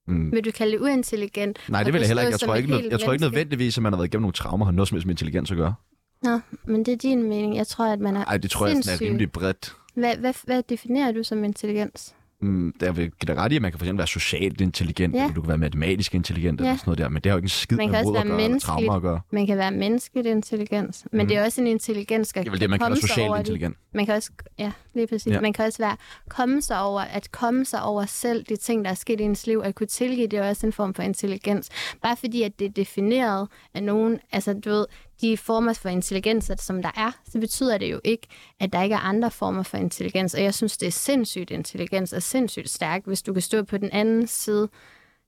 [SPEAKER 2] Mm.
[SPEAKER 1] Vil du kalde det uintelligent?
[SPEAKER 2] Nej, det
[SPEAKER 1] Og
[SPEAKER 2] vil jeg heller ikke. Jeg
[SPEAKER 1] forstås
[SPEAKER 2] tror
[SPEAKER 1] som
[SPEAKER 2] ikke,
[SPEAKER 1] et
[SPEAKER 2] nød-
[SPEAKER 1] helt
[SPEAKER 2] jeg tror ikke
[SPEAKER 1] menneske.
[SPEAKER 2] nødvendigvis, at man har været igennem nogle traumer, har noget som helst med intelligens at gøre.
[SPEAKER 1] Nå, men det er din mening. Jeg tror, at man er...
[SPEAKER 2] Nej, det tror jeg sådan er
[SPEAKER 1] Sindssygt.
[SPEAKER 2] rimelig bredt.
[SPEAKER 1] Hvad, hvad, hvad definerer du som intelligens?
[SPEAKER 2] Mm, der vil give dig ret i, at man kan for eksempel være socialt intelligent,
[SPEAKER 1] Ja.
[SPEAKER 2] eller du kan være matematisk intelligent, eller
[SPEAKER 1] Ja.
[SPEAKER 2] sådan noget der, men det har jo ikke en skid
[SPEAKER 1] Man
[SPEAKER 2] med
[SPEAKER 1] kan også
[SPEAKER 2] mod at
[SPEAKER 1] være
[SPEAKER 2] gøre, eller
[SPEAKER 1] menneskeligt.
[SPEAKER 2] traumer at gøre.
[SPEAKER 1] Man kan være menneskeligt intelligens, men
[SPEAKER 2] Mhm.
[SPEAKER 1] mm. det er også en intelligens, der
[SPEAKER 2] Det er vel det, man
[SPEAKER 1] komme
[SPEAKER 2] kalder
[SPEAKER 1] sig over
[SPEAKER 2] socialt
[SPEAKER 1] det.
[SPEAKER 2] intelligent.
[SPEAKER 1] Man kan også, ja, lige præcis.
[SPEAKER 2] Ja.
[SPEAKER 1] Ja. Man kan også være komme sig over, at komme sig over selv de ting, der er sket i ens liv, at kunne tilgive, det er også en form for intelligens. Bare fordi, at det er defineret af nogen, altså du ved, de former for intelligens, som der er, så betyder det jo ikke, at der ikke er andre former for intelligens. Og jeg synes, det er sindssygt intelligens og sindssygt stærkt, hvis du kan stå på den anden side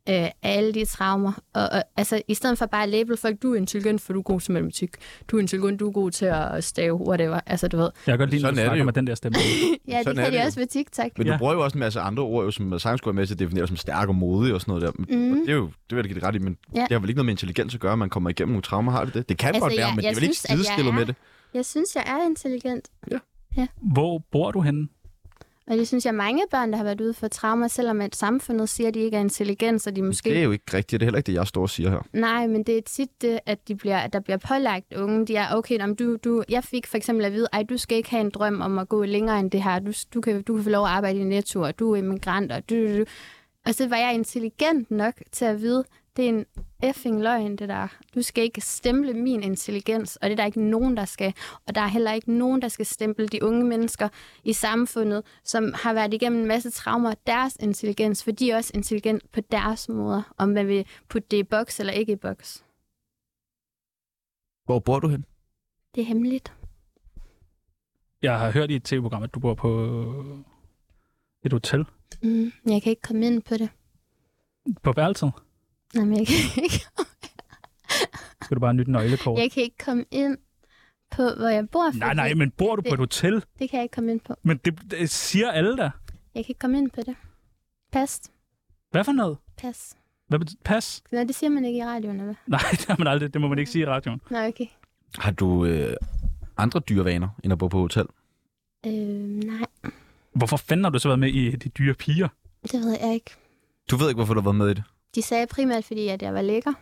[SPEAKER 1] øh, af alle de traumer. Og, og, altså, i stedet for bare at label folk, du er intelligent, for du er god til matematik. Du er intelligent, du er god til at stave, whatever. Altså, du ved.
[SPEAKER 4] Jeg kan godt lide, når
[SPEAKER 2] Sådan
[SPEAKER 4] du
[SPEAKER 2] er det
[SPEAKER 4] snakker
[SPEAKER 2] jo.
[SPEAKER 4] med den der stemme.
[SPEAKER 1] Ja,
[SPEAKER 2] Sådan
[SPEAKER 1] det
[SPEAKER 2] er
[SPEAKER 1] kan
[SPEAKER 2] det
[SPEAKER 1] de
[SPEAKER 2] jo.
[SPEAKER 1] også ved TikTok.
[SPEAKER 2] Men ja.
[SPEAKER 4] Ja.
[SPEAKER 2] du bruger jo også en masse andre ord, jo, som man sagtens skulle være med til at definere som stærk og modig og sådan noget der. Men
[SPEAKER 1] Mhm.
[SPEAKER 2] og Det, er jo, det vil jeg da give det ret i, men
[SPEAKER 1] Ja.
[SPEAKER 2] det har vel ikke noget med intelligens at gøre, at man kommer igennem nogle traumer, har det det? Det kan
[SPEAKER 1] Altså,
[SPEAKER 2] godt være,
[SPEAKER 1] jeg-
[SPEAKER 2] men det
[SPEAKER 1] jeg
[SPEAKER 2] er vel ikke
[SPEAKER 1] synes, at jeg
[SPEAKER 2] sidestillet
[SPEAKER 1] er-
[SPEAKER 2] med det.
[SPEAKER 1] Jeg synes, jeg er intelligent,
[SPEAKER 4] Hvor bor du henne?
[SPEAKER 1] og det synes jeg mange børn, der har været ude for traumer, selvom at samfundet siger, at de ikke er intelligent, så de måske...
[SPEAKER 2] Det er jo ikke rigtigt, det er heller ikke det, jeg står og siger her.
[SPEAKER 1] Nej, men det er tit det, at, de bliver, at der bliver pålagt unge. De er, okay, om du, du, jeg fik for eksempel at vide, ej, du skal ikke have en drøm om at gå længere end det her. Du, du, kan, du kan få lov at arbejde i Netto, og du er immigrant, og du, du, du. Og så var jeg intelligent nok til at vide, det er en effing løgn, det der. Du skal ikke stemple min intelligens, og det er der ikke nogen, der skal. Og der er heller ikke nogen, der skal stemple de unge mennesker i samfundet, som har været igennem en masse traumer, deres intelligens, for de er også intelligent på deres måder, om man vil putte det i boks eller ikke i boks.
[SPEAKER 2] Hvor bor du hen?
[SPEAKER 1] Det er hemmeligt.
[SPEAKER 4] Jeg har hørt i et tv-program, at du bor på et hotel
[SPEAKER 1] Mm, men jeg kan ikke komme ind på det.
[SPEAKER 4] på værelset.
[SPEAKER 1] Nej, men jeg kan ikke,
[SPEAKER 4] Skal du bare have nyt nøglekort?
[SPEAKER 1] jeg kan ikke komme ind på, hvor jeg bor.
[SPEAKER 4] Nej,
[SPEAKER 1] fordi
[SPEAKER 4] nej, men bor du på et hotel?
[SPEAKER 1] Det kan jeg ikke komme ind på.
[SPEAKER 4] Men det, det siger alle da.
[SPEAKER 1] Jeg kan ikke komme ind på det. Pas.
[SPEAKER 4] Hvad for noget?
[SPEAKER 1] Pas.
[SPEAKER 4] Hvad betyder, pas?
[SPEAKER 1] Nå, det siger man ikke i radioen, eller?
[SPEAKER 4] Nej, det har man aldrig. Det må man ikke sige i radioen.
[SPEAKER 1] Nej, okay.
[SPEAKER 2] Har du øh, andre dyrevaner, end at bo på hotel?
[SPEAKER 1] Øh, nej,
[SPEAKER 4] Hvorfor fanden har du så været med i De Dyre Piger?
[SPEAKER 1] det ved jeg ikke.
[SPEAKER 2] Du ved ikke, hvorfor du har været med i det.
[SPEAKER 1] De sagde primært, fordi at jeg var lækker.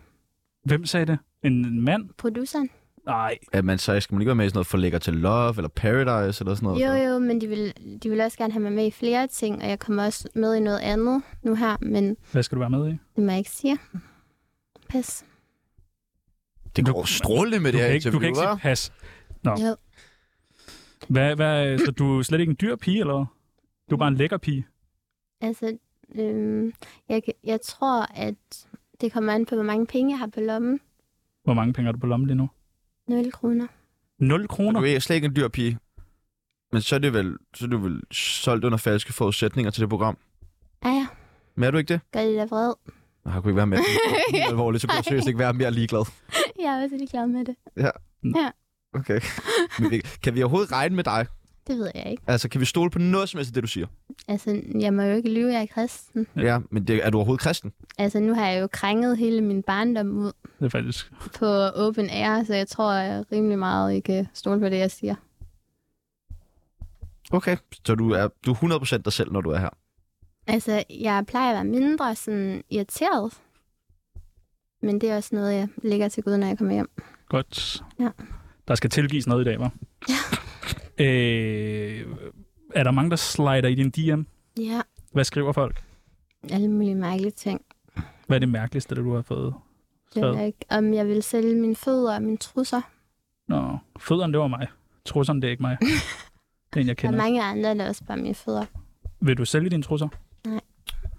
[SPEAKER 4] Hvem sagde det? En mand?
[SPEAKER 1] Produceren.
[SPEAKER 4] Nej.
[SPEAKER 2] At man så skal man ikke være med i sådan noget for lækker til love, eller paradise, eller sådan noget.
[SPEAKER 1] Jo, jo, men de ville, de ville også gerne have mig med i flere ting, og jeg kommer også med i noget andet nu her, men
[SPEAKER 4] Hvad skal du være med i?
[SPEAKER 1] det må jeg ikke sige. Pas.
[SPEAKER 2] Det
[SPEAKER 4] Du-
[SPEAKER 2] går strålende med
[SPEAKER 4] Du
[SPEAKER 2] det her
[SPEAKER 4] kan, ikke, du
[SPEAKER 2] interview,
[SPEAKER 4] kan ikke sige
[SPEAKER 2] hva'?
[SPEAKER 4] pas. Nå.
[SPEAKER 1] Jo.
[SPEAKER 4] Hvad, hvad, så du er slet ikke en dyr pige, eller hvad? Du er bare en lækker pige.
[SPEAKER 1] Altså, øhm, jeg, kan- jeg tror, at det kommer an på, hvor mange penge jeg har på lommen.
[SPEAKER 4] Hvor mange penge har du på lommen lige nu?
[SPEAKER 1] 0 kroner.
[SPEAKER 4] 0 kroner?
[SPEAKER 2] Du er slet ikke en dyr pige. Men så er, det vel, så er du vel solgt under falske forudsætninger til det program.
[SPEAKER 1] Ej, Ah ja,
[SPEAKER 2] Men er du ikke det?
[SPEAKER 1] gør det da vred.
[SPEAKER 2] Nej, jeg kunne ikke være mere Helt alvorligt, så kunne jeg seriøst ikke være mere ligeglad.
[SPEAKER 1] jeg er også lidt glad med det.
[SPEAKER 2] Men vi- kan vi overhovedet regne med dig?
[SPEAKER 1] Det ved jeg ikke.
[SPEAKER 2] Altså, kan vi stole på noget som helst af det, du siger?
[SPEAKER 1] Altså, jeg må jo ikke lyve, jeg er kristen.
[SPEAKER 2] Ja, men det, er du overhovedet kristen?
[SPEAKER 1] Altså, nu har jeg jo krænget hele min barndom ud
[SPEAKER 4] Det er faktisk...
[SPEAKER 1] på open air, så jeg tror jeg rimelig meget, I kan stole på det, jeg siger.
[SPEAKER 2] Okay. Så du er, du er 100% dig selv, når du er her.
[SPEAKER 1] Altså, jeg plejer at være mindre sådan irriteret. Men det er også noget, jeg lægger til Gud, når jeg kommer hjem.
[SPEAKER 4] Godt.
[SPEAKER 1] Ja.
[SPEAKER 4] Der skal tilgives noget i dag, var. Ja. Øh, er der mange, der slider i din DM?
[SPEAKER 1] Ja,
[SPEAKER 4] Hvad skriver folk?
[SPEAKER 1] alle mulige mærkelige ting.
[SPEAKER 4] Hvad er det mærkeligste, det du har fået?
[SPEAKER 1] Det
[SPEAKER 4] Så-
[SPEAKER 1] er ikke, om jeg vil sælge mine fødder og mine trusser.
[SPEAKER 4] Nå, fødderen, det var mig. Trusserne, det er ikke mig. Det er en, jeg
[SPEAKER 1] Der er
[SPEAKER 4] kender.
[SPEAKER 1] mange andre, der også bare mine fødder.
[SPEAKER 4] Vil du sælge dine trusser?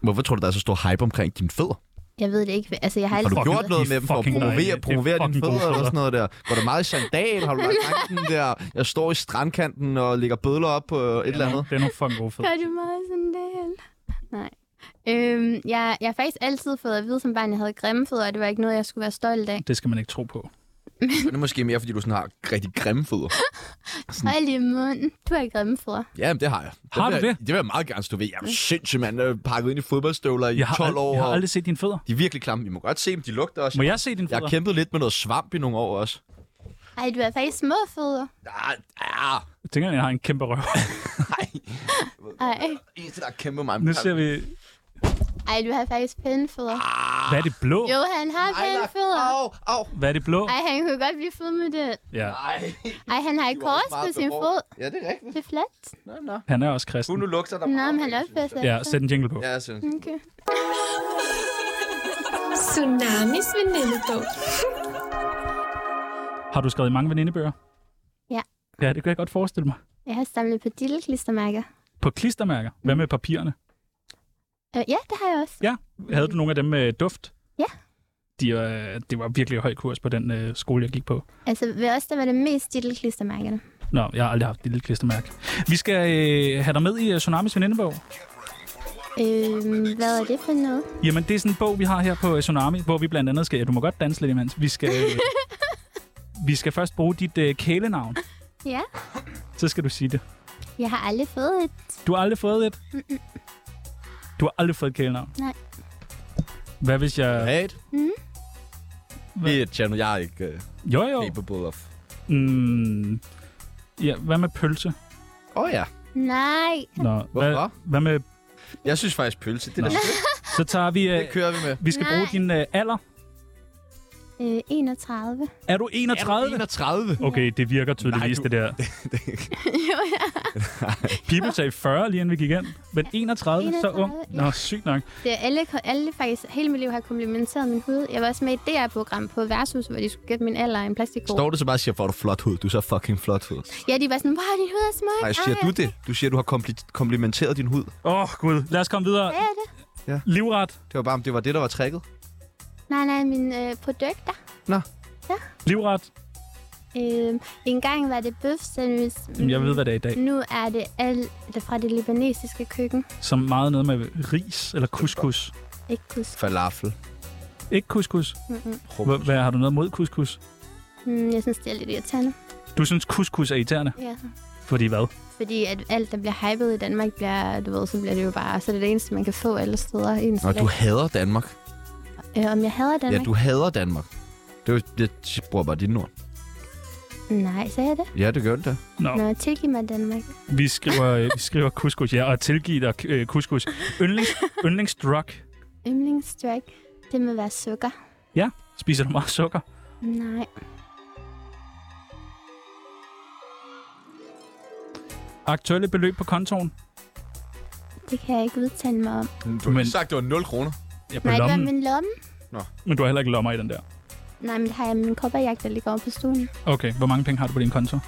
[SPEAKER 2] Hvorfor tror du, der er så stor hype omkring dine fødder?
[SPEAKER 1] Jeg ved det ikke. Altså, jeg har
[SPEAKER 2] Har
[SPEAKER 1] altid...
[SPEAKER 2] du
[SPEAKER 4] Fucking-
[SPEAKER 2] gjort noget
[SPEAKER 4] de er
[SPEAKER 2] med dem for at
[SPEAKER 4] fucking dejlige.
[SPEAKER 2] promovere,
[SPEAKER 4] Det
[SPEAKER 2] promovere
[SPEAKER 4] er
[SPEAKER 2] dine
[SPEAKER 4] fucking gode
[SPEAKER 2] fødder eller
[SPEAKER 4] fødder.
[SPEAKER 2] sådan noget der? Går der meget i sandal? Har du lagt tanken der? Jeg står i strandkanten og lægger bødler op på et eller andet.
[SPEAKER 4] Det er nogle fucking gode fødder.
[SPEAKER 1] Gør du meget sådan del? Nej. Øhm, jeg, jeg har faktisk altid fået at vide som barn, at jeg havde grimme fødder, og det var ikke noget, jeg skulle være stolt af.
[SPEAKER 4] Det skal man ikke tro på.
[SPEAKER 2] Men det er måske mere, fordi du sådan har rigtig grimme fødder.
[SPEAKER 1] Hold i munden. Du har grimme fødder.
[SPEAKER 2] Jamen, det har jeg. Det
[SPEAKER 4] Har
[SPEAKER 2] vil
[SPEAKER 4] du
[SPEAKER 2] jeg,
[SPEAKER 4] det?
[SPEAKER 2] Det vil jeg meget gerne stå ved. Jeg er jo sindssyg, mand. Jeg er pakket ind i fodboldstøvler i
[SPEAKER 4] Jeg har,
[SPEAKER 2] 12 år.
[SPEAKER 4] ald- jeg har
[SPEAKER 2] og
[SPEAKER 4] aldrig set dine fødder.
[SPEAKER 2] De er virkelig klamme. Vi må godt se dem. De lugter også.
[SPEAKER 4] Må jeg se dine
[SPEAKER 2] Jeg har
[SPEAKER 4] fødder?
[SPEAKER 2] kæmpet lidt med noget svamp i nogle år også.
[SPEAKER 1] Ej, du har faktisk små fødder.
[SPEAKER 2] Ah, ah,
[SPEAKER 4] Jeg tænker, jeg har en kæmpe røv.
[SPEAKER 2] nej.
[SPEAKER 1] Ej.
[SPEAKER 2] Eneste, der har kæmpet mig.
[SPEAKER 4] Nu ser vi...
[SPEAKER 1] Ej, du har faktisk pæne fødder.
[SPEAKER 4] Hvad er det blå?
[SPEAKER 1] Jo, han har pæne fødder.
[SPEAKER 2] Au, au.
[SPEAKER 4] Hvad er det blå?
[SPEAKER 1] Ej, han kunne godt blive født med det.
[SPEAKER 4] Ja,
[SPEAKER 2] Nej.
[SPEAKER 1] Ej, han har et
[SPEAKER 2] Du var
[SPEAKER 1] kors
[SPEAKER 2] også meget
[SPEAKER 1] på sin
[SPEAKER 2] behåret.
[SPEAKER 1] fod.
[SPEAKER 2] Ja, det er rigtigt.
[SPEAKER 1] Det er flot.
[SPEAKER 2] Nå, nå.
[SPEAKER 4] han er også
[SPEAKER 2] Hun
[SPEAKER 4] kristen.
[SPEAKER 2] nu lugter der
[SPEAKER 1] Nå,
[SPEAKER 2] meget,
[SPEAKER 1] men Mm. han
[SPEAKER 2] synes
[SPEAKER 1] opfører sig.
[SPEAKER 4] Ja, sæt en jingle på.
[SPEAKER 2] jeg. Ja, jeg synes.
[SPEAKER 1] Okay.
[SPEAKER 6] Tsunamis venindebog.
[SPEAKER 4] Har du skrevet i mange venindebøger?
[SPEAKER 1] Ja.
[SPEAKER 4] Ja, det kan jeg godt forestille mig.
[SPEAKER 1] Jeg har samlet på dilleklistermærker.
[SPEAKER 4] På klistermærker. Hvad med papirerne?
[SPEAKER 1] Øh, ja, det har jeg også.
[SPEAKER 4] Ja. Havde du nogle af dem med duft?
[SPEAKER 1] Ja.
[SPEAKER 4] De, øh, det var virkelig høj kurs på den øh, skole, jeg gik på.
[SPEAKER 1] Altså, ved os, der var det mest dilleklistermærkerne.
[SPEAKER 4] Nå, jeg har aldrig haft et lille klistermærke. Vi skal øh, have dig med i øh, Tsunamis venindebog.
[SPEAKER 1] Øhm, hvad er det for noget?
[SPEAKER 4] Jamen, det er sådan en bog, vi har her på øh, Tsunami, hvor vi blandt andet skal... Ja, du må godt danse lidt imens. Vi skal, øh, vi skal først bruge dit øh, kælenavn.
[SPEAKER 1] Ja,
[SPEAKER 4] Så skal du sige det.
[SPEAKER 1] jeg har aldrig fået et.
[SPEAKER 4] Du har aldrig fået et? Du har aldrig fået et kælenavn?
[SPEAKER 1] Nej.
[SPEAKER 4] Hvad hvis jeg...
[SPEAKER 2] Hat.
[SPEAKER 1] Mm.
[SPEAKER 2] Det er et channel, jeg er ikke uh,
[SPEAKER 4] Jo, jo.
[SPEAKER 2] capable of.
[SPEAKER 4] Mm, ja, hvad med pølse?
[SPEAKER 2] Åh oh, ja.
[SPEAKER 1] Nej.
[SPEAKER 4] Nå, hvad,
[SPEAKER 2] Hvorfor?
[SPEAKER 4] hvad med...
[SPEAKER 2] Jeg synes faktisk pølse, det er
[SPEAKER 4] Nå.
[SPEAKER 2] da sødt.
[SPEAKER 4] Så tager vi... Øh,
[SPEAKER 2] Det kører vi med.
[SPEAKER 4] vi skal
[SPEAKER 1] Nej.
[SPEAKER 4] bruge din øh, alder.
[SPEAKER 1] Øh, 31.
[SPEAKER 4] Er du 31?
[SPEAKER 2] 31.
[SPEAKER 4] Okay, det virker tydeligvis,
[SPEAKER 2] Nej,
[SPEAKER 4] det der.
[SPEAKER 1] jo, ja.
[SPEAKER 4] People sagde 40, lige inden vi gik ind. Men 31, så
[SPEAKER 1] 31,
[SPEAKER 4] ung.
[SPEAKER 1] ja.
[SPEAKER 4] Nå, sygt nok.
[SPEAKER 1] Det er alle, alle faktisk, hele mit liv har komplimenteret min hud. Jeg var også med i et DR-program på Versus, hvor de skulle gætte min alder i en plastikkort.
[SPEAKER 2] Står du så bare og siger, hvor er du flot hud? Du er så fucking flot hud.
[SPEAKER 1] Ja, de var sådan, wow, din hud er smuk.
[SPEAKER 2] Nej, siger
[SPEAKER 1] Ej,
[SPEAKER 2] du det? Du siger, du har kompli- komplimenteret din hud.
[SPEAKER 4] Åh, oh, Gud. Lad os komme videre.
[SPEAKER 1] Hvad er det?
[SPEAKER 4] Livret.
[SPEAKER 2] Det var bare, om det var det, der var tricket.
[SPEAKER 1] Nej, nej, mine øh, produkter.
[SPEAKER 4] Livret.
[SPEAKER 1] Øh, engang var det bøf sandwich.
[SPEAKER 4] Jamen, jeg ved, hvad det er i dag.
[SPEAKER 1] Nu er det alt det fra det libanesiske køkken.
[SPEAKER 4] Som meget noget med ris eller couscous.
[SPEAKER 1] Ikke kusk.
[SPEAKER 2] Falafel.
[SPEAKER 4] Ikke couscous. Hva- Hvad har du noget mod couscous?
[SPEAKER 1] Hmm, jeg synes, det er lidt irriterende.
[SPEAKER 4] Du synes, couscous er irriterende?
[SPEAKER 1] Ja.
[SPEAKER 4] Fordi hvad?
[SPEAKER 1] Fordi at alt, der bliver hypet i Danmark, bliver, du ved, så bliver det jo bare... Så er det det eneste, man kan få alle steder. Ens
[SPEAKER 2] Nå, du hader Danmark.
[SPEAKER 1] øh, om jeg hader
[SPEAKER 2] Ja,
[SPEAKER 1] Danmark?
[SPEAKER 2] du hader Danmark. Det, var, det bruger bare dine ord.
[SPEAKER 1] Nej, sagde jeg det?
[SPEAKER 2] Ja, det gør det da.
[SPEAKER 4] Nå,
[SPEAKER 1] Nå, tilgiv mig Danmark.
[SPEAKER 4] vi skriver, øh, vi skriver couscous, ja, og tilgiv dig øh, couscous. Yndlings, yndlingsdrug.
[SPEAKER 1] Yndlingsdrug, det må være sukker.
[SPEAKER 4] Ja, spiser du meget sukker?
[SPEAKER 1] Nej.
[SPEAKER 4] Aktuelle beløb på kontoen?
[SPEAKER 1] Det kan jeg ikke udtale mig om.
[SPEAKER 2] Du
[SPEAKER 4] Men-
[SPEAKER 2] sagt, det var 0 kroner.
[SPEAKER 4] Ja, på
[SPEAKER 1] Nej, det var
[SPEAKER 4] lommen.
[SPEAKER 1] min lomme.
[SPEAKER 4] Men du har heller ikke lommer i den der.
[SPEAKER 1] Nej, men det har jeg min kopperjagt, der ligger over på stuen.
[SPEAKER 4] Okay, hvor mange penge har du på din konto?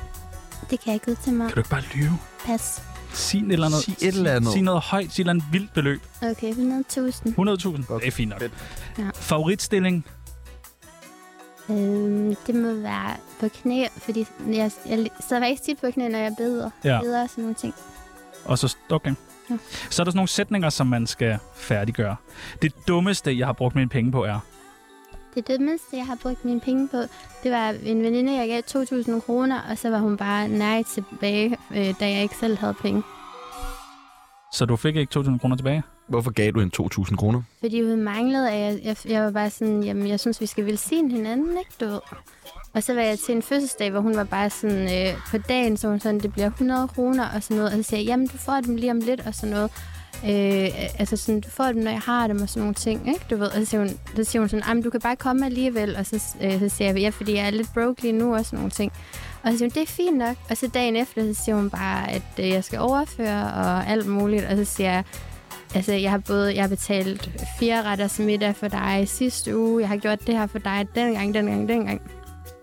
[SPEAKER 1] Det kan jeg ikke udtale mig om.
[SPEAKER 4] Kan du ikke bare lyve?
[SPEAKER 1] Pas.
[SPEAKER 4] Sig et eller andet.
[SPEAKER 2] Sig et eller andet.
[SPEAKER 4] Sig noget højt, sig et eller andet vildt beløb.
[SPEAKER 1] Okay, 100.000.
[SPEAKER 4] 100.000?
[SPEAKER 2] Okay.
[SPEAKER 4] Det er fint nok.
[SPEAKER 2] Fedt.
[SPEAKER 1] Ja.
[SPEAKER 4] Favoritstilling?
[SPEAKER 1] Øhm, det må være på knæ, fordi jeg, jeg sidder faktisk tit på knæ, når jeg beder.
[SPEAKER 4] Ja.
[SPEAKER 1] Beder og sådan nogle ting.
[SPEAKER 4] Og så, okay.
[SPEAKER 1] Ja.
[SPEAKER 4] Så er der sådan nogle sætninger, som man skal færdiggøre. Det dummeste, jeg har brugt mine penge på, er...
[SPEAKER 1] Det er det mindste, jeg har brugt mine penge på. Det var en veninde, jeg gav 2.000 kroner, og så var hun bare nej tilbage, øh, da jeg ikke selv havde penge.
[SPEAKER 4] Så du fik ikke 2.000 kroner tilbage?
[SPEAKER 2] Hvorfor gav du hende 2.000 kroner?
[SPEAKER 1] Fordi hun manglede, at jeg, jeg, jeg var bare sådan, jamen jeg synes, vi skal velsigne hinanden, ikke du ved? Og så var jeg til en fødselsdag, hvor hun var bare sådan, øh, på dagen, så var hun sådan, det bliver 100 kroner og sådan noget. Og så siger jeg, jamen du får dem lige om lidt og sådan noget. Øh, altså sådan, du får dem, når jeg har dem og sådan nogle ting, ikke du ved? Og så siger hun, så siger hun sådan, jamen du kan bare komme alligevel. Og så, øh, så siger jeg, ja, fordi jeg er lidt broke lige nu og sådan nogle ting. Og så siger hun, det er fint nok. Og så dagen efter, så siger hun bare, at øh, jeg skal overføre og alt muligt. Og så siger jeg, Altså, jeg har både jeg har betalt fire retters middag for dig sidste uge. Jeg har gjort det her for dig den gang, den gang, den gang.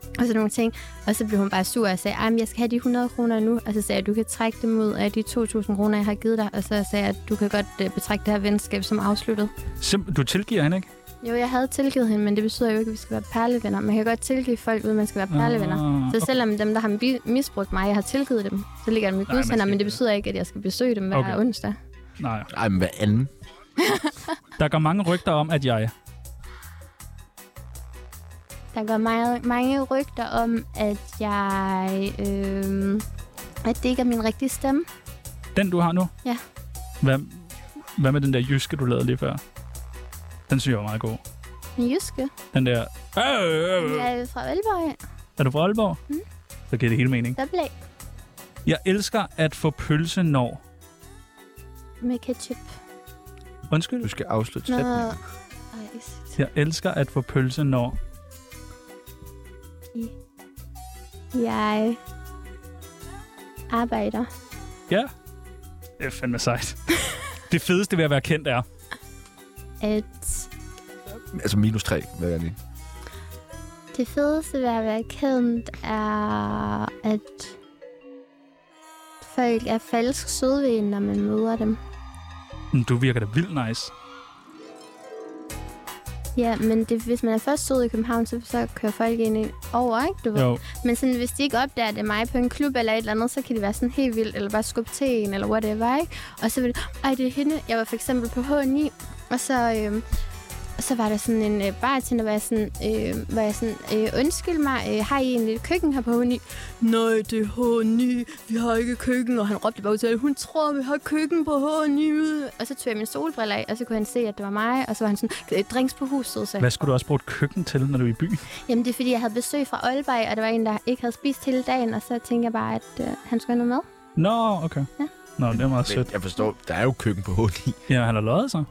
[SPEAKER 1] Og sådan nogle ting. Og så blev hun bare sur og sagde, at jeg skal have de 100 kroner nu. Og så sagde jeg, du kan trække dem ud af de 2.000 kroner, jeg har givet dig. Og så sagde jeg, at du kan godt øh, betragte det her venskab som afsluttet.
[SPEAKER 4] Sim- du tilgiver hende ikke?
[SPEAKER 1] Jo, jeg havde tilgivet hende, men det betyder jo ikke, at vi skal være perlevenner. Man kan godt tilgive folk, uden man skal være perlevenner.
[SPEAKER 4] Ah,
[SPEAKER 1] Så selvom dem, der har bi- misbrugt mig, jeg har tilgivet dem, så ligger dem i
[SPEAKER 4] man
[SPEAKER 1] Guds
[SPEAKER 4] skal
[SPEAKER 1] hænder, men
[SPEAKER 4] ikke-
[SPEAKER 1] det betyder ikke, at jeg skal besøge dem hver
[SPEAKER 4] Okay.
[SPEAKER 1] okay. onsdag.
[SPEAKER 4] Nej.
[SPEAKER 2] Ej, men hvad anden?
[SPEAKER 4] Der går mange rygter om, at jeg...
[SPEAKER 1] Der går meget, mange rygter om, at jeg... Øh, at det ikke er min rigtige stemme.
[SPEAKER 4] Den, du har nu?
[SPEAKER 1] Ja.
[SPEAKER 4] Hvad, hvad med den der jyske, du lavede lige før? Den synes jeg var meget god.
[SPEAKER 1] Min jyske.
[SPEAKER 4] Den der... Øh, øh, øh.
[SPEAKER 1] Jeg er fra Aalborg.
[SPEAKER 4] Er du fra Aalborg? Mm. Så giver det hele mening.
[SPEAKER 1] Der blev
[SPEAKER 4] Jeg elsker at få pølse når...
[SPEAKER 1] med ketchup.
[SPEAKER 4] Undskyld?
[SPEAKER 2] Du skal afslutte
[SPEAKER 1] Med...
[SPEAKER 2] sætningen.
[SPEAKER 1] Ej, s-
[SPEAKER 4] Jeg elsker at få pølse når...
[SPEAKER 1] jeg arbejder.
[SPEAKER 4] Ja. Det er fandme sejt. det fedeste ved at være kendt er...
[SPEAKER 1] At
[SPEAKER 2] Altså minus 3, hvad er det?
[SPEAKER 1] det fedeste ved at være kendt er, at folk er falsk søde ved en, når man møder dem.
[SPEAKER 4] "Mm, Du virker da vildt nice.
[SPEAKER 1] Ja, men det, hvis man er først sød i København, så, så kører folk ind i- over, ikke? Du ved?
[SPEAKER 4] Jo.
[SPEAKER 1] Men sådan, hvis de ikke opdager det er mig på en klub eller et eller andet, så kan det være sådan helt vildt, eller bare skubbe til en, eller whatever, ikke? Og så vil det, ej, det er hende. Jeg var for eksempel på H9, og så, øhm, og så var der sådan en øh, bartender, hvor jeg sådan, øh, hvor jeg sådan øh, undskyld mig, øh, har I egentlig et køkken her på H9? Nej, det er H9, vi har ikke køkken. Og han råbte bare ud til alle, hun tror, vi har køkken på H9. Og så tog jeg mine solbriller af, og så kunne han se, at det var mig. Og så var han sådan, "Øh, drinks på huset, så
[SPEAKER 4] Hvad skulle du også bruge et køkken til, når du er i byen?
[SPEAKER 1] Jamen, det er, fordi jeg havde besøg fra Aalborg, og der var en, der ikke havde spist hele dagen, og så tænkte jeg bare, at øh, han skulle have noget med.
[SPEAKER 4] Nå, okay.
[SPEAKER 1] Ja.
[SPEAKER 4] Nå, det er meget sødt.
[SPEAKER 2] jeg forstår, der er jo køkken på H9.
[SPEAKER 4] Ja, han har løjet sig.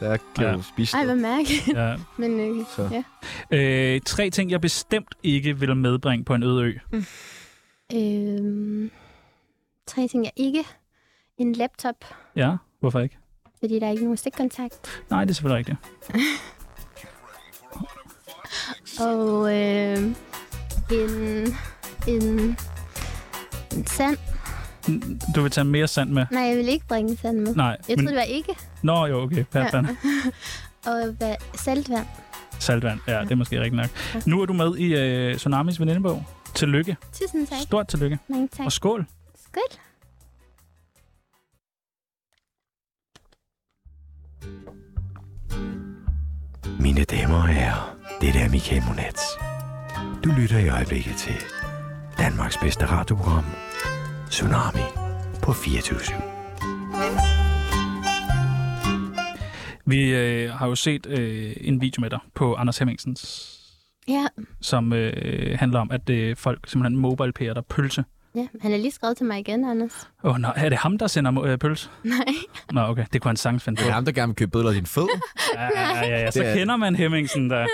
[SPEAKER 2] Der kan
[SPEAKER 4] Ja.
[SPEAKER 2] jo spise
[SPEAKER 1] Ej,
[SPEAKER 2] noget.
[SPEAKER 1] hvor mærkeligt.
[SPEAKER 4] Ja.
[SPEAKER 1] Men øh,
[SPEAKER 2] Så.
[SPEAKER 1] ja.
[SPEAKER 4] Øh, tre ting, jeg bestemt ikke vil medbringe på en øde ø.
[SPEAKER 1] Øhm, tre ting, jeg ikke. En laptop,
[SPEAKER 4] Ja, hvorfor ikke?
[SPEAKER 1] fordi der er ikke nogen stikkontakt.
[SPEAKER 4] Nej, det er selvfølgelig rigtigt.
[SPEAKER 1] Og øh, en, en, en sand.
[SPEAKER 4] Du vil tage mere sand med.
[SPEAKER 1] Nej, jeg vil ikke bringe en sand med.
[SPEAKER 4] Nej,
[SPEAKER 1] Jeg
[SPEAKER 4] men...
[SPEAKER 1] troede, det var ikke.
[SPEAKER 4] Nå, jo, okay. Fair,
[SPEAKER 1] Ja.
[SPEAKER 4] fair.
[SPEAKER 1] Og hvad, saltvand.
[SPEAKER 4] Saltvand, ja, det er måske rigtigt nok. Nu er du med i øh, Tsunamis venindebog. Tillykke.
[SPEAKER 1] Tusind tak.
[SPEAKER 4] Stort tillykke.
[SPEAKER 1] Mange tak.
[SPEAKER 4] Og skål.
[SPEAKER 1] Skål.
[SPEAKER 7] Mine damer og herrer, det er Michael Monats. Du lytter i øjeblikket til Danmarks bedste radioprogram, Tsunami på 24
[SPEAKER 4] Vi øh, har jo set øh, en video med dig på Anders Hemmingsens,
[SPEAKER 1] Ja,
[SPEAKER 4] som øh, handler om, at øh, folk simpelthen mobile dig pølse.
[SPEAKER 1] ja, han har lige skrevet til mig igen, Anders.
[SPEAKER 4] Åh oh, nej, er det ham, der sender øh, pølse?
[SPEAKER 1] Nej.
[SPEAKER 4] Nå, okay, det kunne han sagtens finde
[SPEAKER 2] Det
[SPEAKER 4] på.
[SPEAKER 2] er ham, der gerne vil købe bødler af din fed.
[SPEAKER 4] Ja, ja, ja, ja. Så
[SPEAKER 2] Det er-
[SPEAKER 4] kender man Hemmingsen, der...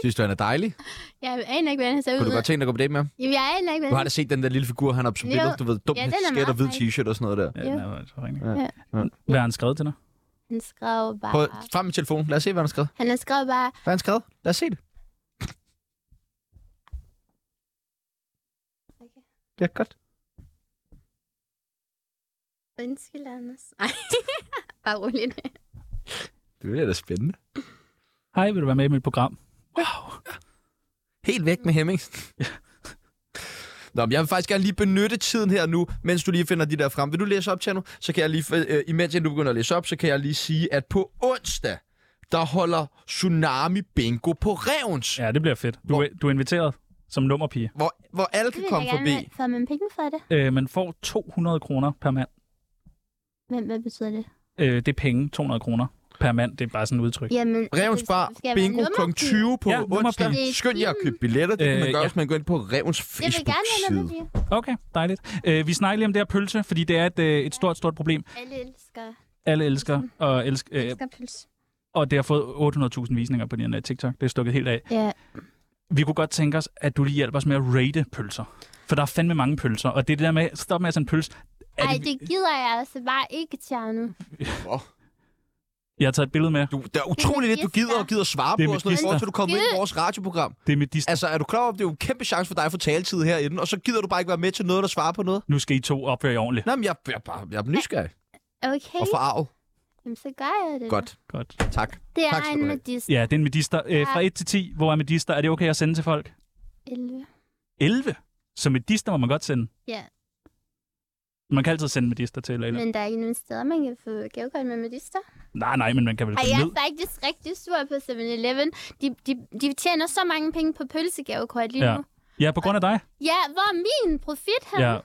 [SPEAKER 2] Synes du, han er dejlig?
[SPEAKER 1] Jeg aner ikke, hvordan han ser ud.
[SPEAKER 2] Kunne du godt tænke dig at gå på date med ham?
[SPEAKER 1] Jamen, jeg aner ikke,
[SPEAKER 2] Du har
[SPEAKER 1] hvordan
[SPEAKER 2] da set den der lille figur, han har på
[SPEAKER 1] Jo.
[SPEAKER 2] billeder. Du ved, dum
[SPEAKER 1] Ja,
[SPEAKER 2] ja,
[SPEAKER 1] den er
[SPEAKER 2] skæt og
[SPEAKER 1] meget
[SPEAKER 2] hvid
[SPEAKER 1] dejlig.
[SPEAKER 2] t-shirt og sådan noget der.
[SPEAKER 4] Ja,
[SPEAKER 1] Ja.
[SPEAKER 4] nej, hvor er det så ringe.
[SPEAKER 1] Ja.
[SPEAKER 4] Hvad har han skrevet til dig?
[SPEAKER 1] han skrev bare...
[SPEAKER 2] Prøv frem med telefonen. Lad os se, hvad han har skrevet.
[SPEAKER 1] Han har skrevet bare,
[SPEAKER 2] Hvad har han skrevet? Lad os se det. Ja, godt.
[SPEAKER 1] undskyld, Anders. Nej, bare roligt.
[SPEAKER 2] Det bliver da spændende.
[SPEAKER 4] Hej, vil du være med i mit program?
[SPEAKER 2] Helt væk med Hemmingsen. Nå, men jeg vil faktisk gerne lige benytte tiden her nu, mens du lige finder de der frem. Vil du læse op, Tjerno? Så kan jeg lige, øh, imens jeg nu begynder at læse op, så kan jeg lige sige, at på onsdag, der holder Tsunami Bingo på Revens. Ja.
[SPEAKER 4] Ja, det bliver fedt. Du, er- du er inviteret som nummerpige.
[SPEAKER 2] Hvor, hvor alle
[SPEAKER 1] Det
[SPEAKER 2] kan
[SPEAKER 1] vil
[SPEAKER 2] komme
[SPEAKER 1] jeg
[SPEAKER 2] forbi.
[SPEAKER 1] gerne få med penge for det.
[SPEAKER 4] Øh, man får 200 kroner per mand.
[SPEAKER 1] Hvem, hvad betyder det?
[SPEAKER 4] Øh, det er penge, 200 kroner per mand. Det er bare sådan et udtryk.
[SPEAKER 1] Jamen, altså,
[SPEAKER 2] Revens Bar,
[SPEAKER 1] skal jeg være
[SPEAKER 2] bingo kl.
[SPEAKER 1] nummerpige?
[SPEAKER 2] 20 på
[SPEAKER 4] Ja,
[SPEAKER 2] ja, onsdag.
[SPEAKER 4] nummerpige.
[SPEAKER 2] Skynd jer at købe billetter. Det kan
[SPEAKER 4] Øh,
[SPEAKER 2] man gøre,
[SPEAKER 4] ja.
[SPEAKER 2] hvis man går ind på Revens
[SPEAKER 1] Jeg vil gerne være
[SPEAKER 2] Facebook-side.
[SPEAKER 1] nummerpige.
[SPEAKER 4] Okay, dejligt. Øh, vi snakker lige om det her pølse, fordi det er et, øh, et stort, stort problem.
[SPEAKER 1] Alle elsker,
[SPEAKER 4] Alle elsker og elsker, øh,
[SPEAKER 1] elsker pølse.
[SPEAKER 4] og det har fået 800.000 visninger på din øh, TikTok. Det er stukket helt af.
[SPEAKER 1] Ja,
[SPEAKER 4] Vi kunne godt tænke os, at du lige hjælper os med at rate pølser. For der er fandme mange pølser, og det er det der med, stop med at sende pølse. Er
[SPEAKER 1] ej,
[SPEAKER 4] det,
[SPEAKER 1] det gider jeg altså bare ikke, Tjerno.
[SPEAKER 4] Jeg har taget et billede med.
[SPEAKER 2] Du, der er utroligt lidt, du gider og gider at svare
[SPEAKER 4] Det er
[SPEAKER 2] på, og
[SPEAKER 4] mit
[SPEAKER 2] sådan noget, i forhold til, at du kommer ind i
[SPEAKER 1] Gid.
[SPEAKER 2] vores radioprogram.
[SPEAKER 4] Det er med de...
[SPEAKER 2] Altså, er du klar over, at det er jo en kæmpe chance for dig at få taletid herinde, og så gider du bare ikke være med til noget, der svarer på noget?
[SPEAKER 4] Nu skal I to opføre jer ordentligt.
[SPEAKER 2] Nej, men jeg, jeg, er bare, jeg er nysgerrig
[SPEAKER 1] Okay,
[SPEAKER 2] og forarvet.
[SPEAKER 1] Jamen, så gør jeg det.
[SPEAKER 2] Godt,
[SPEAKER 4] Godt.
[SPEAKER 2] tak.
[SPEAKER 1] Det er
[SPEAKER 2] Tak skal
[SPEAKER 1] en
[SPEAKER 2] du have.
[SPEAKER 1] medister.
[SPEAKER 4] Ja, det er en medister. Øh, fra 1 til 10, hvor er medister? Er det okay at sende til folk?
[SPEAKER 1] 11.
[SPEAKER 4] 11. Så medister må man godt sende.
[SPEAKER 1] Ja.
[SPEAKER 4] Man kan altid sende medister til, eller...
[SPEAKER 1] Men der er ikke nogen steder, man kan få gavekort med medister.
[SPEAKER 4] Nej, nej, men man kan vel
[SPEAKER 1] Ej,
[SPEAKER 4] komme
[SPEAKER 1] jeg
[SPEAKER 4] ned.
[SPEAKER 1] er faktisk rigtig sur på 7-Eleven. De, de, de tjener så mange penge på pølsegavekort lige
[SPEAKER 4] Ja.
[SPEAKER 1] nu.
[SPEAKER 4] Ja, på grund af dig.
[SPEAKER 1] Ja, hvor er min profit her?
[SPEAKER 4] Ja.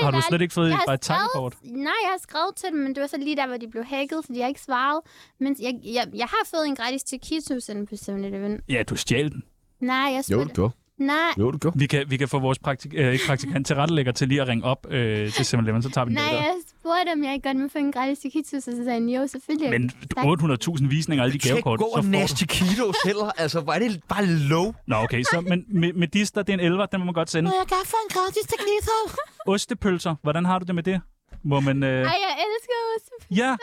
[SPEAKER 4] Har du slet ikke fået
[SPEAKER 1] Jeg har
[SPEAKER 4] bare et takkekort?
[SPEAKER 1] Nej, jeg har skrevet til dem, men det var så lige der, hvor de blev hacket, så de har ikke svaret. Men jeg, jeg, jeg har fået en gratis taquito sendt på 7-Eleven.
[SPEAKER 4] Ja, du stjal den.
[SPEAKER 1] Nej, jeg
[SPEAKER 2] Jo,
[SPEAKER 1] spurgte.
[SPEAKER 2] det gjorde.
[SPEAKER 1] Nej,
[SPEAKER 2] Jo, det gjorde.
[SPEAKER 4] Vi kan, vi kan få vores praktik, øh, ikke praktikant til rettelægger til lige at ringe op øh, til 7-Eleven, så tager vi den
[SPEAKER 1] nej,
[SPEAKER 4] der.
[SPEAKER 1] jeg spurgte, om jeg ikke godt må få en gratis taquito, så sagde han, jo, selvfølgelig.
[SPEAKER 4] Men
[SPEAKER 1] Tak.
[SPEAKER 4] 800.000 visninger og alle de
[SPEAKER 2] Tjek
[SPEAKER 4] gavekort,
[SPEAKER 2] gå
[SPEAKER 4] så
[SPEAKER 2] og
[SPEAKER 4] får du...
[SPEAKER 2] næste kilos heller. Altså, var det bare low?
[SPEAKER 4] Nå, okay, så, men med, med dister, det er en 11'er, den må man godt sende.
[SPEAKER 8] Må jeg gerne få en gratis taquito?
[SPEAKER 4] Ostepølser, hvordan har du det med det? Må man... Øh...
[SPEAKER 1] Ej, jeg elsker os.
[SPEAKER 4] Ja!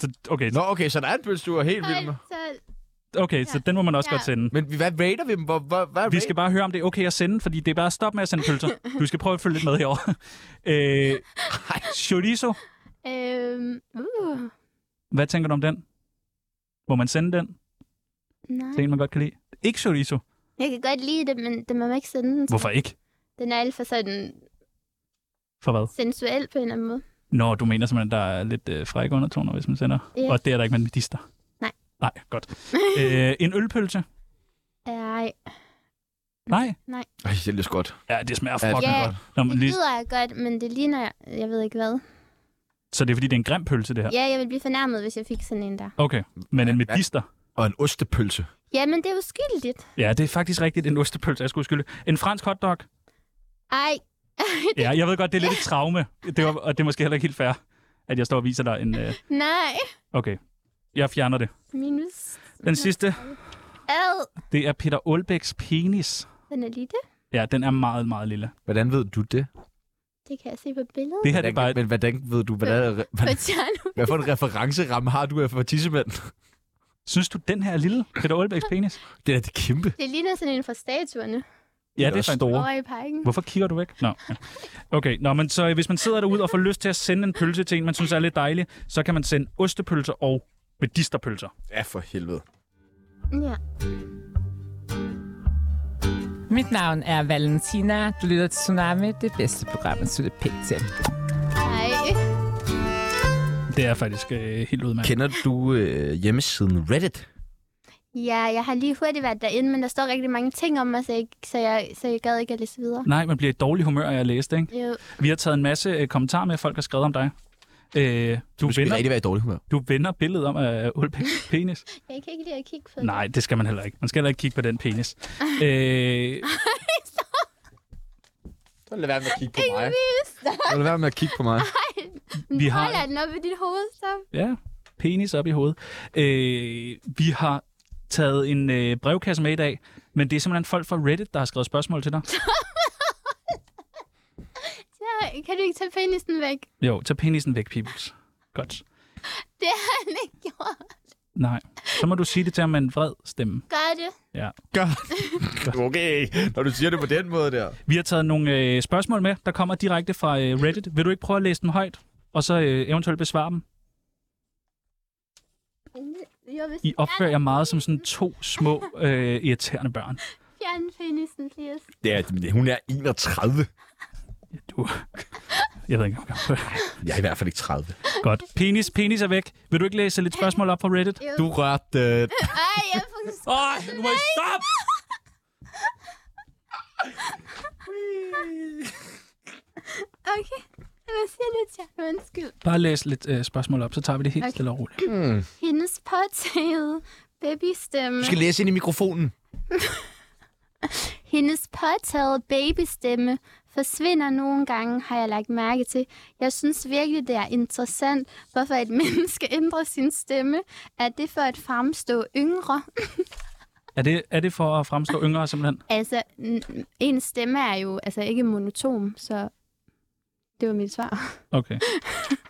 [SPEAKER 4] Så, okay,
[SPEAKER 2] Nå, okay, så der er en pølse, du er helt vild med.
[SPEAKER 4] okay så den må man også
[SPEAKER 1] Ja.
[SPEAKER 4] godt sende.
[SPEAKER 2] Men hvad rater vi dem? Hvor, hvor, hvad
[SPEAKER 4] Vi skal bare høre, om det er okay at sende, fordi det er bare stop med at sende pølser. Du skal prøve at følge lidt med herovre. Øh, chorizo,
[SPEAKER 1] Øhm, uh,
[SPEAKER 4] hvad tænker du om den? Må man sende den?
[SPEAKER 1] nej.
[SPEAKER 4] Det er en, man godt kan lide. Ikke chorizo.
[SPEAKER 1] Jeg kan godt lide det, men det må man ikke sende den. til.
[SPEAKER 4] Hvorfor ikke?
[SPEAKER 1] Den er alt for sådan
[SPEAKER 4] For hvad?
[SPEAKER 1] sensuel på en eller anden måde.
[SPEAKER 4] Nå, du mener simpelthen, der er lidt øh, frække undertoner, hvis man sender.
[SPEAKER 1] Ja.
[SPEAKER 4] Og det er der ikke med medister.
[SPEAKER 1] Nej.
[SPEAKER 4] Nej, godt. øh, en ølpølse?
[SPEAKER 1] Ej,
[SPEAKER 4] Nej.
[SPEAKER 2] Ej, det lyder godt.
[SPEAKER 4] Ja, det smager
[SPEAKER 2] Ja,
[SPEAKER 4] fucking
[SPEAKER 1] det-
[SPEAKER 4] godt. Nå, men
[SPEAKER 1] det
[SPEAKER 4] lige...
[SPEAKER 1] lyder jeg godt, men det ligner, jeg ved ikke hvad.
[SPEAKER 4] Så det er fordi, det er en grim pølse, det her?
[SPEAKER 1] Ja, jeg ville blive fornærmet, hvis jeg fik sådan en der.
[SPEAKER 4] Okay, men en medister?
[SPEAKER 2] Og en ostepølse.
[SPEAKER 1] Ja, men det er uskyldigt.
[SPEAKER 4] Ja, det er faktisk rigtigt en ostepølse, jeg skulle skylde. En fransk hotdog?
[SPEAKER 1] Ej,
[SPEAKER 4] Ja, jeg ved godt, det er lidt et traume, det var, og det er måske heller ikke helt fair, at jeg står og viser dig en... Øh...
[SPEAKER 1] nej.
[SPEAKER 4] Okay, jeg fjerner det.
[SPEAKER 1] Minus.
[SPEAKER 4] Den sidste,
[SPEAKER 1] Ad.
[SPEAKER 4] det er Peter Olbæks penis.
[SPEAKER 1] Den er lille.
[SPEAKER 4] Ja, den er meget, meget lille.
[SPEAKER 2] Hvordan ved du det?
[SPEAKER 1] Det kan jeg se på billedet.
[SPEAKER 4] Det her det er bare...
[SPEAKER 2] Men hvordan ved du, hvad, hvad,
[SPEAKER 1] På
[SPEAKER 2] hvad,
[SPEAKER 1] Tjerno.
[SPEAKER 2] hvad for en referenceramme har du af for tissemænd?
[SPEAKER 4] Synes du, den her er lille? Peter Olbæks penis?
[SPEAKER 2] Det er da det kæmpe.
[SPEAKER 1] Det ligner sådan en fra statuerne
[SPEAKER 4] Ja,
[SPEAKER 2] er
[SPEAKER 4] det er
[SPEAKER 2] også
[SPEAKER 4] faktisk...
[SPEAKER 2] store.
[SPEAKER 1] over i parken.
[SPEAKER 4] Hvorfor kigger du væk? Nå. ja. Okay, nå, men så øh, hvis man sidder derude og får lyst til at sende en pølse til en, man synes er lidt dejlig, så kan man sende ostepølser og medisterpølser.
[SPEAKER 2] Ja, for helvede.
[SPEAKER 1] Ja.
[SPEAKER 8] Mit navn er Valentina. Du lytter til Tsunami, det bedste program, at slutte pænt til.
[SPEAKER 1] Ej.
[SPEAKER 4] Det er faktisk øh, helt udmærket.
[SPEAKER 2] Kender du øh, hjemmesiden Reddit?
[SPEAKER 1] Ja, jeg har lige hurtigt været derinde, men der står rigtig mange ting om mig, så jeg, så jeg, så jeg gad ikke at læse videre.
[SPEAKER 4] Nej, man bliver i dårlig humør af at læse det, ikke?
[SPEAKER 1] Jo.
[SPEAKER 4] Vi har taget en masse øh, kommentarer med, folk har skrevet om dig. Øh, du,
[SPEAKER 2] Du skal
[SPEAKER 4] vender,
[SPEAKER 2] rigtig være i dårlig humør.
[SPEAKER 4] du vender billedet om øh, Ulbæks penis.
[SPEAKER 1] Jeg kan ikke lide at kigge på det.
[SPEAKER 4] Nej, det skal man heller ikke. Man skal heller ikke kigge på den penis. Øh,
[SPEAKER 2] Så lad være med at kigge på mig. Så lad være med at kigge på mig.
[SPEAKER 4] vi har-
[SPEAKER 1] Hold den op i dit hoved, så.
[SPEAKER 4] ja, penis op i hovedet. Øh, vi har taget en øh, brevkasse med i dag, men det er simpelthen folk fra Reddit, der har skrevet spørgsmål til dig.
[SPEAKER 1] Ja, kan du ikke tage penisen væk?
[SPEAKER 4] Jo, tag penisen væk, peoples. Godt.
[SPEAKER 1] Det har han ikke gjort.
[SPEAKER 4] Nej. Så må du sige det til ham med en vred stemme.
[SPEAKER 1] Gør det.
[SPEAKER 4] Ja.
[SPEAKER 2] Gør. Okay, når du siger det på den måde der.
[SPEAKER 4] Vi har taget nogle øh, spørgsmål med, der kommer direkte fra øh, Reddit. Vil du ikke prøve at læse dem højt, og så øh, eventuelt besvare dem?
[SPEAKER 1] Jo, hvis
[SPEAKER 4] I opfører jer meget som sådan to små øh, irriterende børn.
[SPEAKER 1] Fjern penisen, please.
[SPEAKER 2] Det er, hun er 31.
[SPEAKER 4] Du. Jeg ved ikke. Okay.
[SPEAKER 2] Jeg er i hvert fald ikke 30.
[SPEAKER 4] Godt. Penis, penis er væk. Vil du ikke læse lidt spørgsmål op på Reddit?
[SPEAKER 2] Du rørte... Øh,
[SPEAKER 1] Ej, jeg er faktisk...
[SPEAKER 4] Åh, nu må I stoppe!
[SPEAKER 1] Okay. Hvad siger det til jer? Undskyld.
[SPEAKER 4] Bare læs lidt øh, spørgsmål op, så tager vi det helt okay.
[SPEAKER 1] Okay.
[SPEAKER 4] stille og roligt.
[SPEAKER 1] Hendes påtagede babystemme.
[SPEAKER 2] du skal læse ind i mikrofonen.
[SPEAKER 1] Hendes påtagede babystemme forsvinder nogle gange, har jeg lagt mærke til. Jeg synes virkelig, det er interessant, hvorfor et menneske ændrer sin stemme. Er det for at fremstå yngre?
[SPEAKER 4] Er det, er det for at fremstå yngre, simpelthen?
[SPEAKER 1] Altså, n- en stemme er jo altså ikke monotom, så det var mit svar.
[SPEAKER 4] Okay.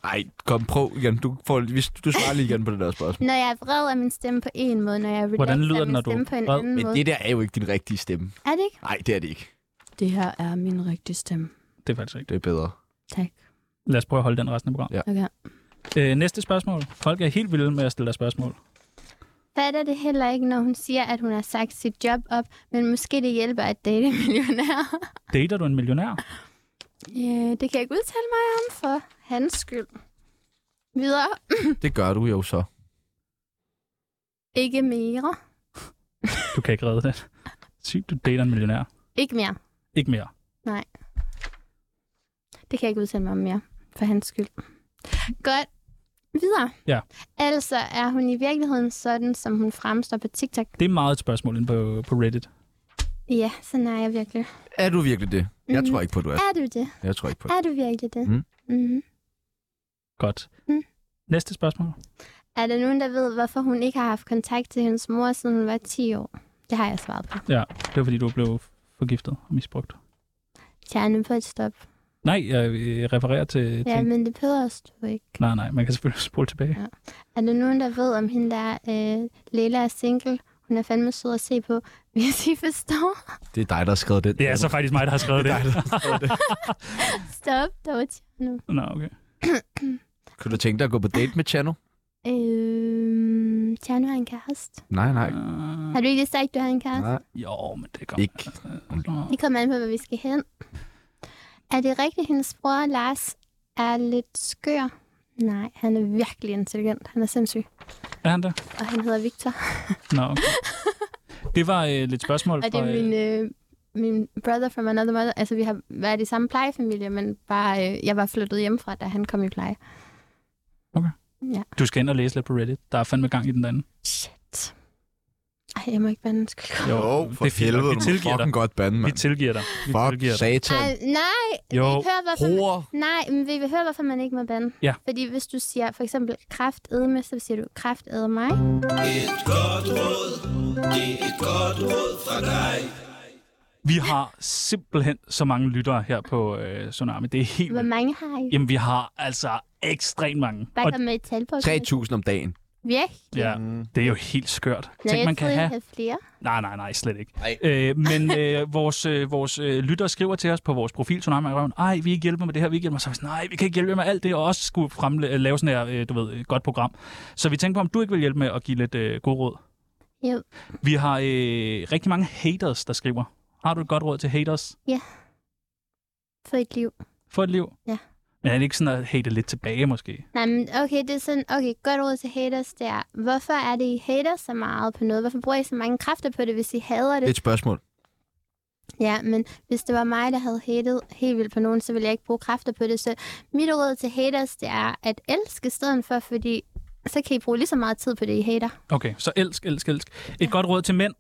[SPEAKER 2] Nej, kom, prøv igen. Du, får, hvis, du svarer lige igen på det der spørgsmål.
[SPEAKER 1] Når jeg er vred, er min stemme på en måde. Når jeg er
[SPEAKER 4] Hvordan
[SPEAKER 1] relaxed,
[SPEAKER 4] lyder
[SPEAKER 1] er
[SPEAKER 4] den,
[SPEAKER 1] min
[SPEAKER 4] når du er
[SPEAKER 1] stemme på en
[SPEAKER 4] vred?
[SPEAKER 1] anden
[SPEAKER 2] Men
[SPEAKER 1] måde.
[SPEAKER 2] det der er jo ikke din rigtige stemme.
[SPEAKER 1] Er det ikke?
[SPEAKER 2] Nej, det er det ikke.
[SPEAKER 1] Det her er min rigtige stemme.
[SPEAKER 4] Det er faktisk rigtigt.
[SPEAKER 2] Det er bedre.
[SPEAKER 1] Tak.
[SPEAKER 4] Lad os prøve at holde den resten af programmet.
[SPEAKER 1] Okay.
[SPEAKER 4] Øh, næste spørgsmål. Folk er helt vilde med at stille dig spørgsmål.
[SPEAKER 1] Fatter det heller ikke, når hun siger, at hun har sagt sit job op, men måske det hjælper at date en millionær.
[SPEAKER 4] Dater du en millionær?
[SPEAKER 1] Ja, det kan jeg ikke udtale mig om for hans skyld. Videre.
[SPEAKER 2] Det gør du jo så.
[SPEAKER 1] Ikke mere.
[SPEAKER 4] Du kan ikke redde det. Sygt, du dater en millionær.
[SPEAKER 1] Ikke mere.
[SPEAKER 4] Ikke mere.
[SPEAKER 1] Det kan jeg ikke udtale mig om mere. For hans skyld. Godt. Videre.
[SPEAKER 4] Ja.
[SPEAKER 1] Altså, er hun i virkeligheden sådan, som hun fremstår på TikTok?
[SPEAKER 4] Det er meget et spørgsmål inde på, på Reddit.
[SPEAKER 1] Ja, sådan er jeg virkelig.
[SPEAKER 2] Er du virkelig det? Jeg
[SPEAKER 1] Mhm.
[SPEAKER 2] tror ikke på, at du er.
[SPEAKER 1] Er du det?
[SPEAKER 2] Jeg tror ikke på det.
[SPEAKER 1] Er du virkelig det?
[SPEAKER 2] Mm.
[SPEAKER 1] Mm-hmm.
[SPEAKER 4] Godt.
[SPEAKER 1] Mm.
[SPEAKER 4] Næste spørgsmål.
[SPEAKER 1] Er der nogen, der ved, hvorfor hun ikke har haft kontakt til hendes mor, siden hun var 10 år? Det har jeg svaret på.
[SPEAKER 4] Ja, det var fordi, du blev forgiftet og misbrugt.
[SPEAKER 1] Tjerne på et stop.
[SPEAKER 4] Nej, jeg øh, refererer til...
[SPEAKER 1] Ja,
[SPEAKER 4] til...
[SPEAKER 1] men det behøver du ikke.
[SPEAKER 4] Nej, nej, man kan selvfølgelig spole tilbage.
[SPEAKER 1] Er der nogen, der ved, om hende der øh, Leila er single? Hun er fandme sød at se på, hvis I forstår.
[SPEAKER 2] Det er dig, der har skrevet den.
[SPEAKER 4] Det er så faktisk mig, der har skrevet det.
[SPEAKER 1] Stop dog, Tjerno.
[SPEAKER 4] Nå, okay.
[SPEAKER 2] Kunne du tænke dig at gå på date med Chano?
[SPEAKER 1] Øh, Tjerno har en kæreste.
[SPEAKER 2] Nej, nej.
[SPEAKER 1] Har du ikke lige sagt, du har en kæreste?
[SPEAKER 2] nej.
[SPEAKER 4] Øh, Jo, men det går.
[SPEAKER 2] Ikke.
[SPEAKER 1] Det kommer an på, hvor vi skal hen. Er det rigtigt, hendes bror Lars er lidt skør? Nej, han er virkelig intelligent. Han er sindssyg.
[SPEAKER 4] Er han der?
[SPEAKER 1] Og han hedder Victor.
[SPEAKER 4] Nå, okay. Det var øh, lidt spørgsmål
[SPEAKER 1] Og det
[SPEAKER 4] fra...
[SPEAKER 1] er min, øh, min brother from another mother. Altså, vi har været i samme plejefamilie, men bare, øh, jeg var flyttet hjemmefra, da han kom i pleje.
[SPEAKER 4] øh, Du skal ind og læse lidt på Reddit. Der er fandme gang i den anden.
[SPEAKER 1] Shit. Ej, jeg må ikke være en
[SPEAKER 4] Jo,
[SPEAKER 2] for
[SPEAKER 4] det er fint nok.
[SPEAKER 2] helvede,
[SPEAKER 4] Vi
[SPEAKER 2] du må
[SPEAKER 4] tilgiver dig.
[SPEAKER 2] fucking godt bande,
[SPEAKER 4] Vi
[SPEAKER 2] mand.
[SPEAKER 4] tilgiver dig. Vi
[SPEAKER 2] Fuck
[SPEAKER 4] tilgiver dig.
[SPEAKER 2] satan.
[SPEAKER 1] Ej, nej,
[SPEAKER 4] Jo,
[SPEAKER 1] vi hører,
[SPEAKER 2] altså,
[SPEAKER 1] hvorfor man,
[SPEAKER 2] Hore.
[SPEAKER 1] nej, men vi vil høre, hvorfor man ikke må bande.
[SPEAKER 4] Ja.
[SPEAKER 1] Fordi hvis du siger for eksempel kraft edme, så siger du kraft æde mig.
[SPEAKER 4] vi har simpelthen så mange lyttere her på øh, Tsunami. Det er helt...
[SPEAKER 1] Hvor mange har I?
[SPEAKER 4] Jamen, vi har altså ekstremt mange.
[SPEAKER 1] Bare
[SPEAKER 4] Og
[SPEAKER 1] kom med et tal på.
[SPEAKER 2] 3.000 om dagen.
[SPEAKER 1] Virkelig?
[SPEAKER 4] ja, det er jo helt skørt.
[SPEAKER 1] Nå,
[SPEAKER 4] Tænk,
[SPEAKER 1] jeg
[SPEAKER 4] man kan
[SPEAKER 1] troede, I
[SPEAKER 4] have
[SPEAKER 1] havde flere.
[SPEAKER 4] Nej, nej, nej, slet ikke. Øh, men øh, vores, øh, vores øh, lytter skriver til os på vores profil, Tsunami i Røven, ej, vi kan ikke hjælpe med det her, vi kan ikke hjælpe med. Så er vi sådan, nej, vi kan ikke hjælpe jer med alt det, og også skulle fremla- lave sådan her, øh, du ved, øh, godt program. Så vi tænkte på, om du ikke vil hjælpe med at give lidt øh, god råd.
[SPEAKER 1] Jo.
[SPEAKER 4] Vi har øh, rigtig mange haters, der skriver. Har du et godt råd til haters?
[SPEAKER 1] For et liv.
[SPEAKER 4] Få et liv.
[SPEAKER 1] Ja.
[SPEAKER 4] Men er det ikke sådan at hate lidt tilbage, måske?
[SPEAKER 1] Nej, men okay, det er sådan, okay, godt råd til haters, det er, hvorfor er det, I hater så meget på noget? Hvorfor bruger I så mange kræfter på det, hvis I hader
[SPEAKER 2] Det
[SPEAKER 1] det?
[SPEAKER 2] er et spørgsmål.
[SPEAKER 1] Ja, men hvis det var mig, der havde hatet helt vildt på nogen, så ville jeg ikke bruge kræfter på det. Så mit råd til haters, det er at elske i stedet for, fordi så kan I bruge lige så meget tid på det, I hater.
[SPEAKER 4] Okay, så elsk, elsk, elsk. Et godt råd til mænd.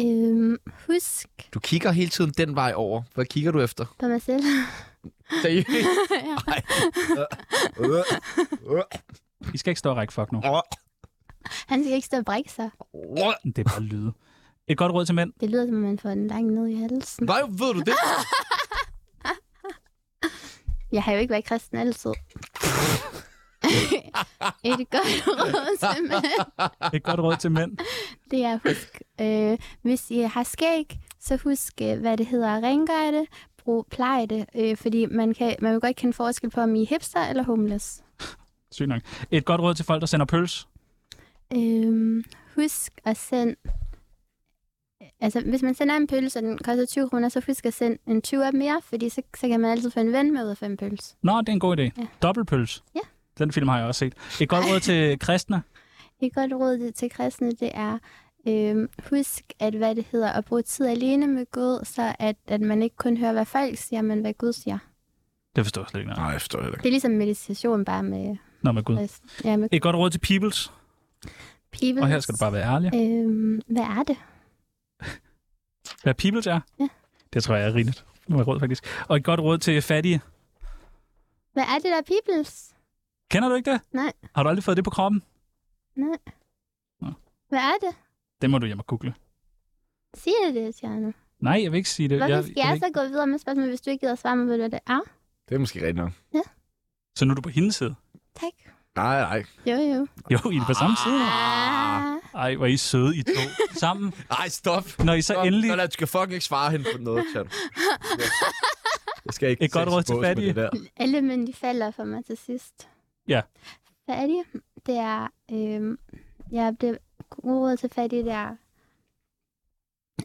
[SPEAKER 1] Øhm, husk
[SPEAKER 2] Du kigger hele tiden den vej over. Hvad kigger du efter?
[SPEAKER 1] på mig selv.
[SPEAKER 2] Seriøst? Ej. Øh. Øh.
[SPEAKER 4] I skal ikke stå og række fuck nu.
[SPEAKER 2] Øh.
[SPEAKER 1] Han skal ikke stå og brække sig.
[SPEAKER 2] Øh.
[SPEAKER 4] Det er bare lyde. Et godt råd til mænd.
[SPEAKER 1] Det lyder, som om man får den langt ned i halsen.
[SPEAKER 2] Nej, ved du det?
[SPEAKER 1] Jeg har jo ikke været kristen altid. Et godt råd til mænd,
[SPEAKER 4] Et godt råd til mænd.
[SPEAKER 1] det er husk, øh, hvis I har skæg, så husk, øh, hvad det hedder at rengøre det, brug pleje det, øh, fordi man, kan, man vil godt kende forskel på, om I er hipster eller homeless.
[SPEAKER 4] Sygt nok. Et godt råd til folk, der sender pøls.
[SPEAKER 1] Øhm, husk at sende altså, hvis man sender en pølse, og den koster 20 kroner, så husk at sende en 20 af mere, fordi så, så kan man altid få en ven med ud af fem pølse.
[SPEAKER 4] Nå, det er en god idé.
[SPEAKER 1] Ja.
[SPEAKER 4] Dobbeltpøls.
[SPEAKER 1] Ja.
[SPEAKER 4] Den film har jeg også set. Et godt råd til kristne.
[SPEAKER 1] Et godt råd til kristne, det er, øhm, husk, at hvad det hedder, at bruge tid alene med Gud, så at, at man ikke kun hører, hvad folk siger, men hvad Gud siger.
[SPEAKER 4] Det forstår jeg slet ikke. noget.
[SPEAKER 2] Nej, jeg forstår det heller ikke.
[SPEAKER 1] Det er ligesom meditation, bare med,
[SPEAKER 4] Nå, men gud.
[SPEAKER 1] ja, med
[SPEAKER 4] Et godt råd til peoples.
[SPEAKER 1] people.
[SPEAKER 4] Og her skal du bare være ærlig.
[SPEAKER 1] Øhm, hvad er det?
[SPEAKER 4] Hvad peoples er?
[SPEAKER 1] Ja.
[SPEAKER 4] Det tror jeg er rigtigt. Det var råd, faktisk. Og et godt råd til fattige.
[SPEAKER 1] Hvad er det der peoples?
[SPEAKER 4] Kender du ikke det?
[SPEAKER 1] Nej.
[SPEAKER 4] Har du aldrig fået det på kroppen?
[SPEAKER 1] Hvad er det?
[SPEAKER 4] Det må du hjem og google.
[SPEAKER 1] Sig det, det, Tjerno.
[SPEAKER 4] Nej, jeg vil ikke sige det.
[SPEAKER 1] Hvorfor
[SPEAKER 4] Øh, jeg,
[SPEAKER 1] skal
[SPEAKER 4] jeg
[SPEAKER 1] jeg,
[SPEAKER 4] vil ikke.
[SPEAKER 1] så gå videre med spørgsmålet, hvis du ikke gider at svare mig på, hvad det er? Ah,
[SPEAKER 2] Det er måske rigtigt nok.
[SPEAKER 4] Så nu er du på hendes side.
[SPEAKER 1] Tak.
[SPEAKER 2] Nej, nej.
[SPEAKER 1] Jo, jo.
[SPEAKER 4] Jo, I er på samme side.
[SPEAKER 1] Ah.
[SPEAKER 4] Ej, hvor er I søde, I to. Sammen.
[SPEAKER 2] Nej, stop.
[SPEAKER 4] Når I så
[SPEAKER 2] Stop.
[SPEAKER 4] endelig...
[SPEAKER 2] Nå, nej, du skal fucking ikke svare hende på noget, Chan. Jeg skal ikke
[SPEAKER 4] Et godt
[SPEAKER 2] sættes i
[SPEAKER 4] råd til
[SPEAKER 2] bås med
[SPEAKER 4] fattige.
[SPEAKER 2] det der.
[SPEAKER 1] Alle mænd, de falder for mig til sidst.
[SPEAKER 4] Ja.
[SPEAKER 1] Fattig, det er... Øh, ja, det gode råd til fattig, det er,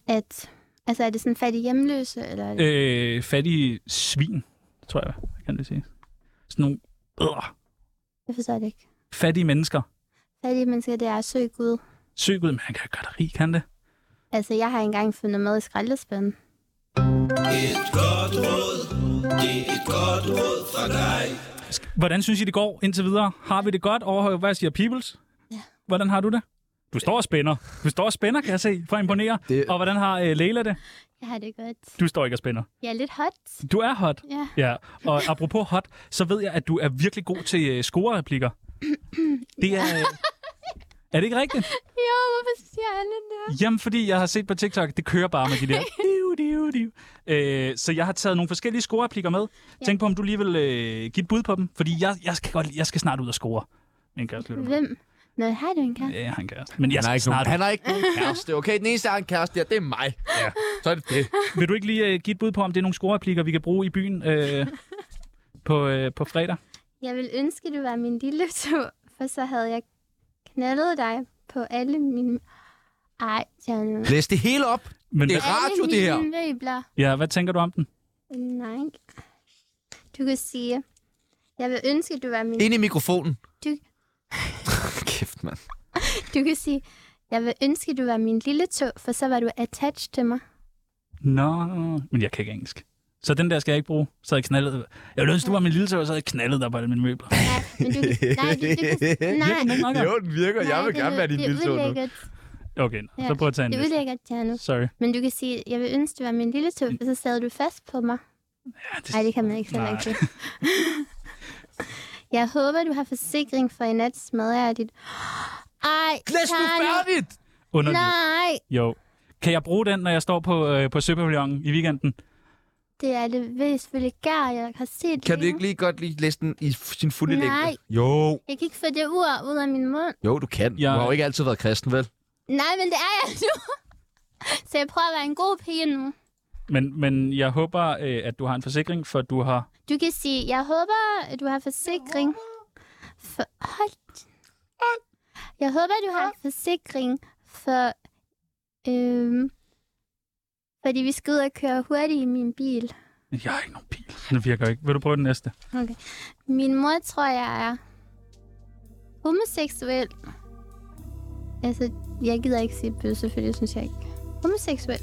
[SPEAKER 1] at... Altså, er det sådan fattig hjemløse, eller... Øh.
[SPEAKER 4] Øh, fattige svin, tror jeg, jeg kan det sige. Sådan nogle øh,
[SPEAKER 1] Jeg forstår det ikke.
[SPEAKER 4] fattige mennesker.
[SPEAKER 1] Fattige mennesker, det er at søge Gud.
[SPEAKER 4] Søg ud, men han kan gøre dig rig, kan det?
[SPEAKER 1] Altså, jeg har engang fundet mad i skraldespanden.
[SPEAKER 4] Hvordan synes I, det går indtil videre? Har vi det godt over, hvad siger Peoples?
[SPEAKER 1] Ja.
[SPEAKER 4] Hvordan har du det? Du står og spænder. Du står og spænder, kan jeg se, for at imponere.
[SPEAKER 2] Det-
[SPEAKER 4] Og hvordan har øh, Leila det?
[SPEAKER 1] Jeg har det godt.
[SPEAKER 4] Du står ikke og spænder.
[SPEAKER 1] Jeg er lidt hot.
[SPEAKER 4] Du er hot.
[SPEAKER 1] Ja,
[SPEAKER 4] Ja, og apropos hot, så ved jeg, at du er virkelig god til øh, scorereplikker. Det er... Øh, er det ikke rigtigt?
[SPEAKER 1] jo, hvorfor siger alle det?
[SPEAKER 4] Jamen, fordi jeg har set på TikTok, det kører bare med de der. Diu, diu, diu. Øh, så jeg har taget nogle forskellige scorereplikker med. Ja. Tænk på, om du lige vil øh, give et bud på dem. Fordi jeg, jeg, skal godt, jeg skal snart ud og score. Min kæreste lytter. med.
[SPEAKER 1] Hvem? Nå, har du en kæreste?
[SPEAKER 4] Ja, han kæreste. Men jeg
[SPEAKER 2] Han har
[SPEAKER 4] skal
[SPEAKER 2] ikke
[SPEAKER 4] snart
[SPEAKER 2] nogen,
[SPEAKER 4] ud.
[SPEAKER 2] han har ikke nogen kæreste. Okay, den eneste, der har en kæreste der, det er mig. Ja. Så er det det.
[SPEAKER 4] Vil du ikke lige øh, give et bud på, om det er nogle scorereplikker, vi kan bruge i byen øh, på, øh, på fredag?
[SPEAKER 1] Jeg vil ønske, du var min lille to, for så havde jeg knaldet dig på alle mine... Ej, Tjerno.
[SPEAKER 2] Læs det hele op.
[SPEAKER 4] Men,
[SPEAKER 2] Det
[SPEAKER 4] ja.
[SPEAKER 2] er radio,
[SPEAKER 1] alle
[SPEAKER 2] det her.
[SPEAKER 1] mine møbler.
[SPEAKER 4] ja, hvad tænker du om den?
[SPEAKER 1] Nej. Du kan sige, jeg vil ønske, du var min...
[SPEAKER 2] Ind i mikrofonen.
[SPEAKER 1] Du-
[SPEAKER 2] Kæft, mand.
[SPEAKER 1] Du kan sige, jeg vil ønske, du var min lille tå, for så var du attached til mig.
[SPEAKER 4] Nå, men jeg kan ikke engelsk. Så den der skal jeg ikke bruge. Så havde jeg knaldet. Jeg ville ønske, du var min lille tøj, så havde jeg knaldet dig på alle mine møbler.
[SPEAKER 1] Nej, men du kan... Nej, du, du kan... Nej,
[SPEAKER 4] Virkelig nok,
[SPEAKER 2] Jo, den virker.
[SPEAKER 1] nej,
[SPEAKER 2] Jeg vil
[SPEAKER 1] det
[SPEAKER 2] gerne
[SPEAKER 1] lyder-
[SPEAKER 2] være din
[SPEAKER 1] det er
[SPEAKER 2] lille tog nu.
[SPEAKER 1] ulækkert.
[SPEAKER 4] Okay, nå,
[SPEAKER 1] Ja,
[SPEAKER 4] så prøv at tage en
[SPEAKER 1] Det er
[SPEAKER 4] næste.
[SPEAKER 1] ulækkert, Tjerno.
[SPEAKER 4] Sorry.
[SPEAKER 1] Men du kan sige, jeg vil ønske, du var min lille tå, for så sad du fast på mig.
[SPEAKER 4] Ja, det,
[SPEAKER 1] Nej, det kan man ikke
[SPEAKER 4] Nej.
[SPEAKER 1] heller ikke. jeg håber, du har forsikring for i nat smadrer jeg dit... Ej,
[SPEAKER 2] Læs nu
[SPEAKER 1] Karlo.
[SPEAKER 2] færdigt!
[SPEAKER 4] Underligt.
[SPEAKER 1] Nej,
[SPEAKER 4] Jo. Kan jeg bruge den, når jeg står på, øh, på Søpavillonen i weekenden?
[SPEAKER 1] det er det vist vulgær, jeg har set
[SPEAKER 2] Kan du
[SPEAKER 1] lige
[SPEAKER 2] ikke lige godt lige læse den i f- sin fulde
[SPEAKER 1] Nej.
[SPEAKER 2] længde? Jo.
[SPEAKER 1] Jeg kan ikke få det ord ud af min mund.
[SPEAKER 2] Jo, du kan.
[SPEAKER 4] Jeg-
[SPEAKER 2] Du har jo ikke altid været kristen, vel?
[SPEAKER 1] Nej, men det er jeg nu. Så jeg prøver at være en god pige nu.
[SPEAKER 4] Men, men jeg håber, øh, at du har en forsikring, for du har...
[SPEAKER 1] Du kan sige, jeg håber, du har forsikring. For... Hold. Jeg håber, du har forsikring for... Øhm, fordi vi skal ud og køre hurtigt i min bil.
[SPEAKER 4] Jeg har ikke nogen bil. Den virker ikke. Vil du prøve den næste?
[SPEAKER 1] Min mor tror, jeg er homoseksuel. Altså, jeg gider ikke sige bøsse, for det synes jeg ikke. Homoseksuel.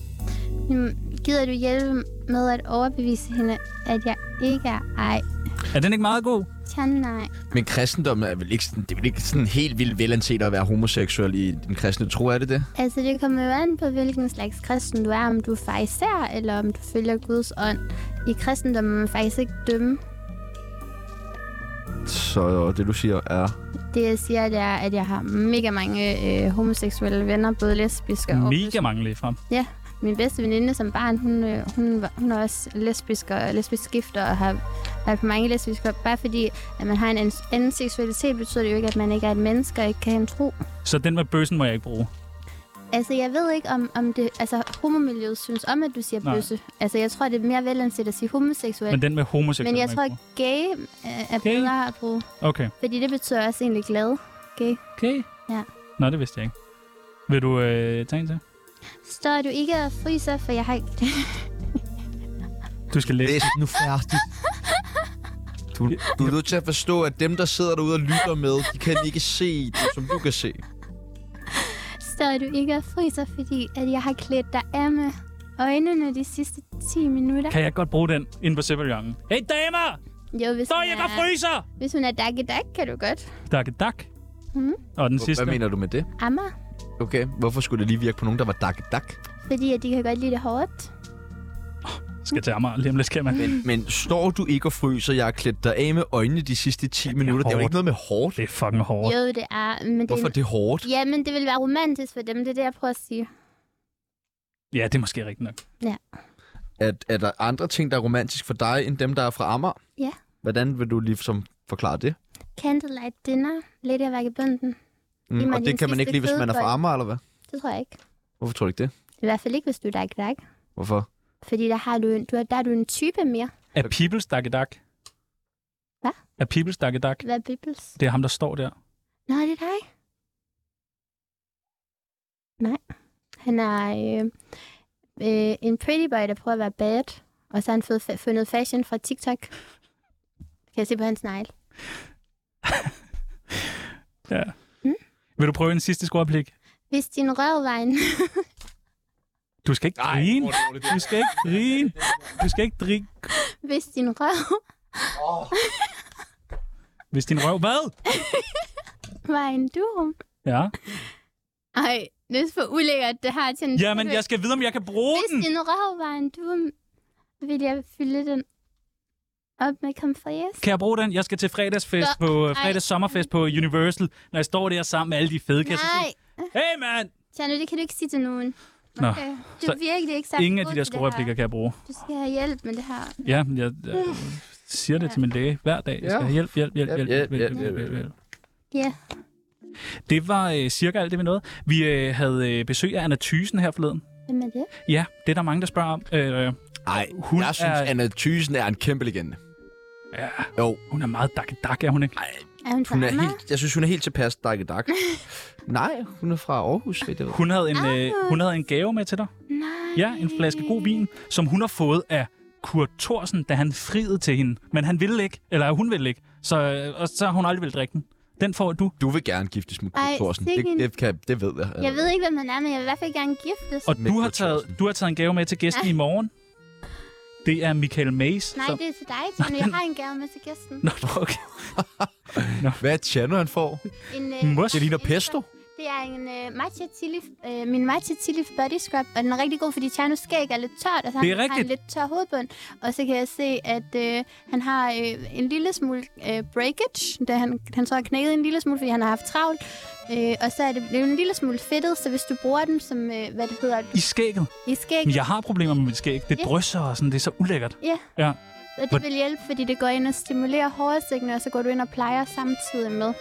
[SPEAKER 1] Men gider du hjælpe med at overbevise hende, at jeg ikke er ej?
[SPEAKER 4] Er den ikke meget god?
[SPEAKER 1] Tja, nej.
[SPEAKER 2] Men kristendommen er vel ikke sådan, det er vel ikke sådan helt vildt velanset at være homoseksuel i den kristne tro, er det det?
[SPEAKER 1] Altså, det kommer jo an på, hvilken slags kristen du er. Om du er fariser, eller om du følger Guds ånd. I kristendommen må man faktisk ikke dømme.
[SPEAKER 2] Så det, du siger, er...
[SPEAKER 1] Det, jeg siger, det er, at jeg har mega mange øh, homoseksuelle venner, både lesbiske og...
[SPEAKER 4] Mega mange lige frem.
[SPEAKER 1] Ja, min bedste veninde som barn, hun, øh, hun, var- hun er også lesbisk og lesbisk skifter og har været på mange lesbiske. Bare fordi, at man har en ans- anden seksualitet, betyder det jo ikke, at man ikke er et menneske og ikke kan have en tro.
[SPEAKER 4] Så den med bøssen må jeg ikke bruge.
[SPEAKER 1] Altså, jeg ved ikke, om, om det... Altså, homomiljøet synes om, at du siger
[SPEAKER 4] Nej.
[SPEAKER 1] bøsse. Altså, jeg tror, det er mere velanset at sige homoseksuel.
[SPEAKER 4] Men den med homoseksuel
[SPEAKER 1] Men jeg
[SPEAKER 4] må
[SPEAKER 1] tror,
[SPEAKER 4] ikke
[SPEAKER 1] gay øh, er
[SPEAKER 4] Gay?
[SPEAKER 1] bedre at bruge.
[SPEAKER 4] bruge. Okay.
[SPEAKER 1] Fordi det betyder også egentlig glad. Gay.
[SPEAKER 4] Okay.
[SPEAKER 1] Ja.
[SPEAKER 4] Nå, det vidste jeg ikke. Vil du øh, tage en til?
[SPEAKER 1] Står du ikke og fryser, for jeg har ikke...
[SPEAKER 4] Du skal læse.
[SPEAKER 2] Læs nu færdig. Du, du er nødt til at forstå, at dem, der sidder derude og lytter med, de kan ikke se det, som du kan se.
[SPEAKER 1] Står du ikke og fryser, fordi at jeg har klædt dig af med øjnene de sidste 10 minutter?
[SPEAKER 4] Kan jeg godt bruge den inde på Sebastian? Hey damer!
[SPEAKER 1] Jo, hvis
[SPEAKER 4] Står
[SPEAKER 1] hun,
[SPEAKER 4] jeg og
[SPEAKER 1] er,
[SPEAKER 4] fryser!
[SPEAKER 1] hvis hun er dak i dak, kan du godt.
[SPEAKER 4] Dak, dak.
[SPEAKER 1] Mhm.
[SPEAKER 4] Og den sidste.
[SPEAKER 2] Hvad mener du med det?
[SPEAKER 1] Amma,
[SPEAKER 2] Okay, hvorfor skulle det lige virke på nogen, der var dak dak?
[SPEAKER 1] fordi at de kan godt lide det hårdt.
[SPEAKER 4] Skal til Amager lige om lidt, skal man.
[SPEAKER 2] Men, men står du ikke og fryser? Jeg har klædt dig af med øjnene de sidste 10 minutter. Det er jo
[SPEAKER 4] hårdt.
[SPEAKER 2] ikke noget med hårdt.
[SPEAKER 4] Det er fucking hårdt.
[SPEAKER 1] Jo, det er... Men det
[SPEAKER 2] Hvorfor er det hårdt?
[SPEAKER 1] Ja, men det vil være romantisk for dem, det er det, jeg prøver at sige.
[SPEAKER 4] Ja, det er måske rigtigt nok.
[SPEAKER 2] at, er der andre ting, der er romantisk for dig, end dem, der er fra Amager?
[SPEAKER 1] Ja.
[SPEAKER 2] Hvordan vil du ligesom forklare det?
[SPEAKER 1] Candlelight dinner, lidt af vagabunden.
[SPEAKER 2] Mm,
[SPEAKER 1] mig
[SPEAKER 2] og
[SPEAKER 1] din
[SPEAKER 2] det kan man
[SPEAKER 1] sidste
[SPEAKER 2] ikke lide, hvis man er fra
[SPEAKER 1] fødebold.
[SPEAKER 2] Amager, eller hvad?
[SPEAKER 1] Det tror jeg ikke.
[SPEAKER 2] Hvorfor tror du ikke det?
[SPEAKER 1] I hvert fald ikke, hvis du er dak dak.
[SPEAKER 2] Hvorfor?
[SPEAKER 1] Fordi der, har du en, du, er- der er du en type mere.
[SPEAKER 4] Er Peoples dak, dak?
[SPEAKER 1] Hvad?
[SPEAKER 4] Er Peoples dak, dak?
[SPEAKER 1] Hvad er Bibels?
[SPEAKER 4] Det er ham, der står der.
[SPEAKER 1] Nå, det er dig. Nej. Han er øh, øh, en pretty boy, der prøver at være bad. Og så har han fået fa- fundet fashion fra TikTok. Kan jeg se på hans negle?
[SPEAKER 4] Ja.
[SPEAKER 1] Mm.
[SPEAKER 4] Vil du prøve en sidste scoreblik?
[SPEAKER 1] Hvis din røv var en...
[SPEAKER 4] Du skal ikke grine. Du skal ikke grine. Du skal ikke grine.
[SPEAKER 1] Hvis din røv
[SPEAKER 4] Hvis din røv... Hvad?
[SPEAKER 1] var en durum.
[SPEAKER 4] Ja.
[SPEAKER 1] Ej, det er for ulækkert, det her til en
[SPEAKER 4] Jamen, jeg skal vide, om jeg kan bruge
[SPEAKER 1] Hvis
[SPEAKER 4] den.
[SPEAKER 1] din røv var en durum, ville jeg fylde den op med komfries.
[SPEAKER 4] Kan jeg bruge den? Jeg skal til fredagsfest
[SPEAKER 1] Så-
[SPEAKER 4] på øh, fredags sommerfest på Universal, når jeg står der sammen med alle de fede kasser.
[SPEAKER 1] Nej,
[SPEAKER 4] Hey, mand!
[SPEAKER 1] Tjerno, det kan du ikke sige til nogen.
[SPEAKER 4] Nå,
[SPEAKER 1] Okay. Du
[SPEAKER 4] så
[SPEAKER 1] er virkelig ikke særlig
[SPEAKER 4] Ingen af
[SPEAKER 1] god
[SPEAKER 4] de der
[SPEAKER 1] til det
[SPEAKER 4] store
[SPEAKER 1] her.
[SPEAKER 4] replikker kan jeg bruge.
[SPEAKER 1] Du skal have hjælp med det her.
[SPEAKER 4] Ja, men jeg, jeg siger det til min læge hver dag. Jeg skal
[SPEAKER 2] Ja.
[SPEAKER 4] have hjælp, hjælp, hjælp,
[SPEAKER 2] Hjælp,
[SPEAKER 4] hjælp, hjælp,
[SPEAKER 2] hjælp,
[SPEAKER 4] hjælp,
[SPEAKER 2] hjælp,
[SPEAKER 4] hjælp, hjælp, hjælp.
[SPEAKER 1] Ja.
[SPEAKER 4] Det var øh, cirka alt det, vi nåede. Vi øh, havde øh, besøg af Anna Thysen her forleden.
[SPEAKER 1] Hvem er det?
[SPEAKER 4] Ja, det er der mange, der spørger om. Øh,
[SPEAKER 2] Nej,
[SPEAKER 4] Hun
[SPEAKER 2] jeg synes,
[SPEAKER 4] er-
[SPEAKER 2] er... Anna Thysen er en kæmpe legende.
[SPEAKER 4] ja,
[SPEAKER 2] Jo,
[SPEAKER 4] hun er meget dak dak, er hun ikke?
[SPEAKER 1] Er hun fra
[SPEAKER 2] hun er
[SPEAKER 1] Amager?
[SPEAKER 2] helt, jeg synes, hun er helt tilpas dak dak. Nej, hun er fra Aarhus, ved jeg.
[SPEAKER 4] Hun havde, en, øh, hun havde en gave med til dig.
[SPEAKER 1] Nej.
[SPEAKER 4] Ja, en flaske god vin, som hun har fået af Kurt Thorsen, da han friede til hende. Men han ville ikke, eller hun ville ikke, så, øh, og så har hun aldrig ville drikke den. Den får du,
[SPEAKER 2] Du vil gerne giftes med
[SPEAKER 1] Ej,
[SPEAKER 2] Kurt Thorsen. Det,
[SPEAKER 1] sikke en-
[SPEAKER 2] det, kan, det ved jeg.
[SPEAKER 1] Jeg ved ikke, hvem han er, men jeg vil i hvert fald gerne giftes.
[SPEAKER 4] og
[SPEAKER 2] Med
[SPEAKER 4] du har,
[SPEAKER 2] Kurt
[SPEAKER 4] taget,
[SPEAKER 2] Thorsen.
[SPEAKER 4] du har taget en gave med til gæsten i morgen. Det er Michael Mays.
[SPEAKER 1] Nej,
[SPEAKER 4] som-
[SPEAKER 1] det er til dig, Tjerno. Jeg har en gave med til gæsten.
[SPEAKER 4] Nå, okay.
[SPEAKER 2] Hvad er Tjerno, han får?
[SPEAKER 1] En, øh,
[SPEAKER 4] Mos.
[SPEAKER 2] Det ligner
[SPEAKER 1] en-
[SPEAKER 2] pesto.
[SPEAKER 1] Det er en øh, matcha chili, øh, min matcha chili body scrub, og den er rigtig god, fordi Tjernos skæg er lidt tørt, og så
[SPEAKER 4] Det er
[SPEAKER 1] har han
[SPEAKER 4] rigtigt.
[SPEAKER 1] en lidt tør hovedbund. Og så kan jeg se, at øh, han har øh, en lille smule øh, breakage, da han, han så har knækket en lille smule, fordi han har haft travlt. Øh, og så er det blevet en lille smule fedtet, så hvis du bruger den som, øh, hvad det hedder,
[SPEAKER 4] I skægget.
[SPEAKER 1] i skæg,
[SPEAKER 4] Men jeg har problemer med mit skæg. Det
[SPEAKER 1] Ja.
[SPEAKER 4] drysser og sådan. Det er så ulækkert.
[SPEAKER 1] og
[SPEAKER 4] hvor-
[SPEAKER 1] det vil hjælpe, fordi det går ind og stimulerer hårsækkene, og så går du ind og plejer samtidig med.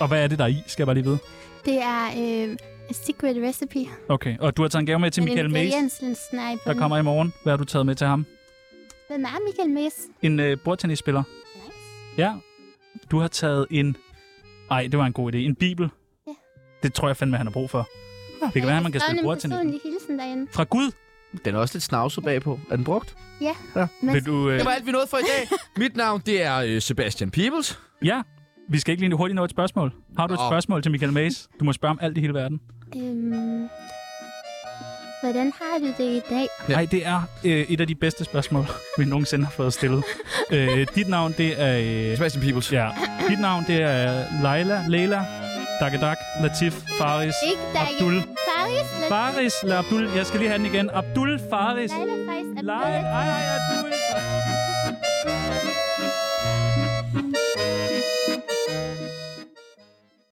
[SPEAKER 4] Og hvad er det, der er i? Skal jeg bare lige vide.
[SPEAKER 1] Det er øh, a secret recipe,
[SPEAKER 4] Okay, og du har taget en gave med til
[SPEAKER 1] men
[SPEAKER 4] Michael Mays,
[SPEAKER 1] ingrediensen er i
[SPEAKER 4] der
[SPEAKER 1] bunden.
[SPEAKER 4] kommer i morgen. Hvad har du taget med til ham?
[SPEAKER 1] Hvem er Michael Mays?
[SPEAKER 4] En øh, bordtennisspiller. Ja. Du har taget en... Ej, det var en god idé. En bibel.
[SPEAKER 1] Ja.
[SPEAKER 4] Det tror jeg fandme, han har brug for. Det kan være, at man kan spille bordtennis.
[SPEAKER 1] Jeg har en personlig hilsen derinde.
[SPEAKER 4] Fra Gud!
[SPEAKER 2] Den er også lidt snavset bagpå. Er den brugt?
[SPEAKER 1] Men
[SPEAKER 4] Vil du... Øh...
[SPEAKER 2] Det var alt, vi nåede for i dag. Mit navn, det er øh, Sebastian Peebles.
[SPEAKER 4] Ja. Vi skal ikke lige nu hurtigt nå et spørgsmål. Har du et
[SPEAKER 2] Nå.
[SPEAKER 4] spørgsmål til Michael Mays? Du må spørge om alt i hele verden.
[SPEAKER 1] øhm, hvordan har du det i dag?
[SPEAKER 2] Ja.
[SPEAKER 4] Nej, det er øh, et af de bedste spørgsmål, vi nogensinde har fået stillet. øh, dit navn, det er... Øh,
[SPEAKER 2] Sebastian Peebles.
[SPEAKER 4] ja. Dit navn, det er Leila, Leila, Dagedak, Latif, Faris,
[SPEAKER 1] Ikke der er
[SPEAKER 4] Abdul.
[SPEAKER 1] Faris? Lad-
[SPEAKER 4] Faris, eller Abdul. Jeg skal lige have den igen. Abdul Faris.
[SPEAKER 1] Leila Faris. er
[SPEAKER 4] Leila, ej, ej, Abdul.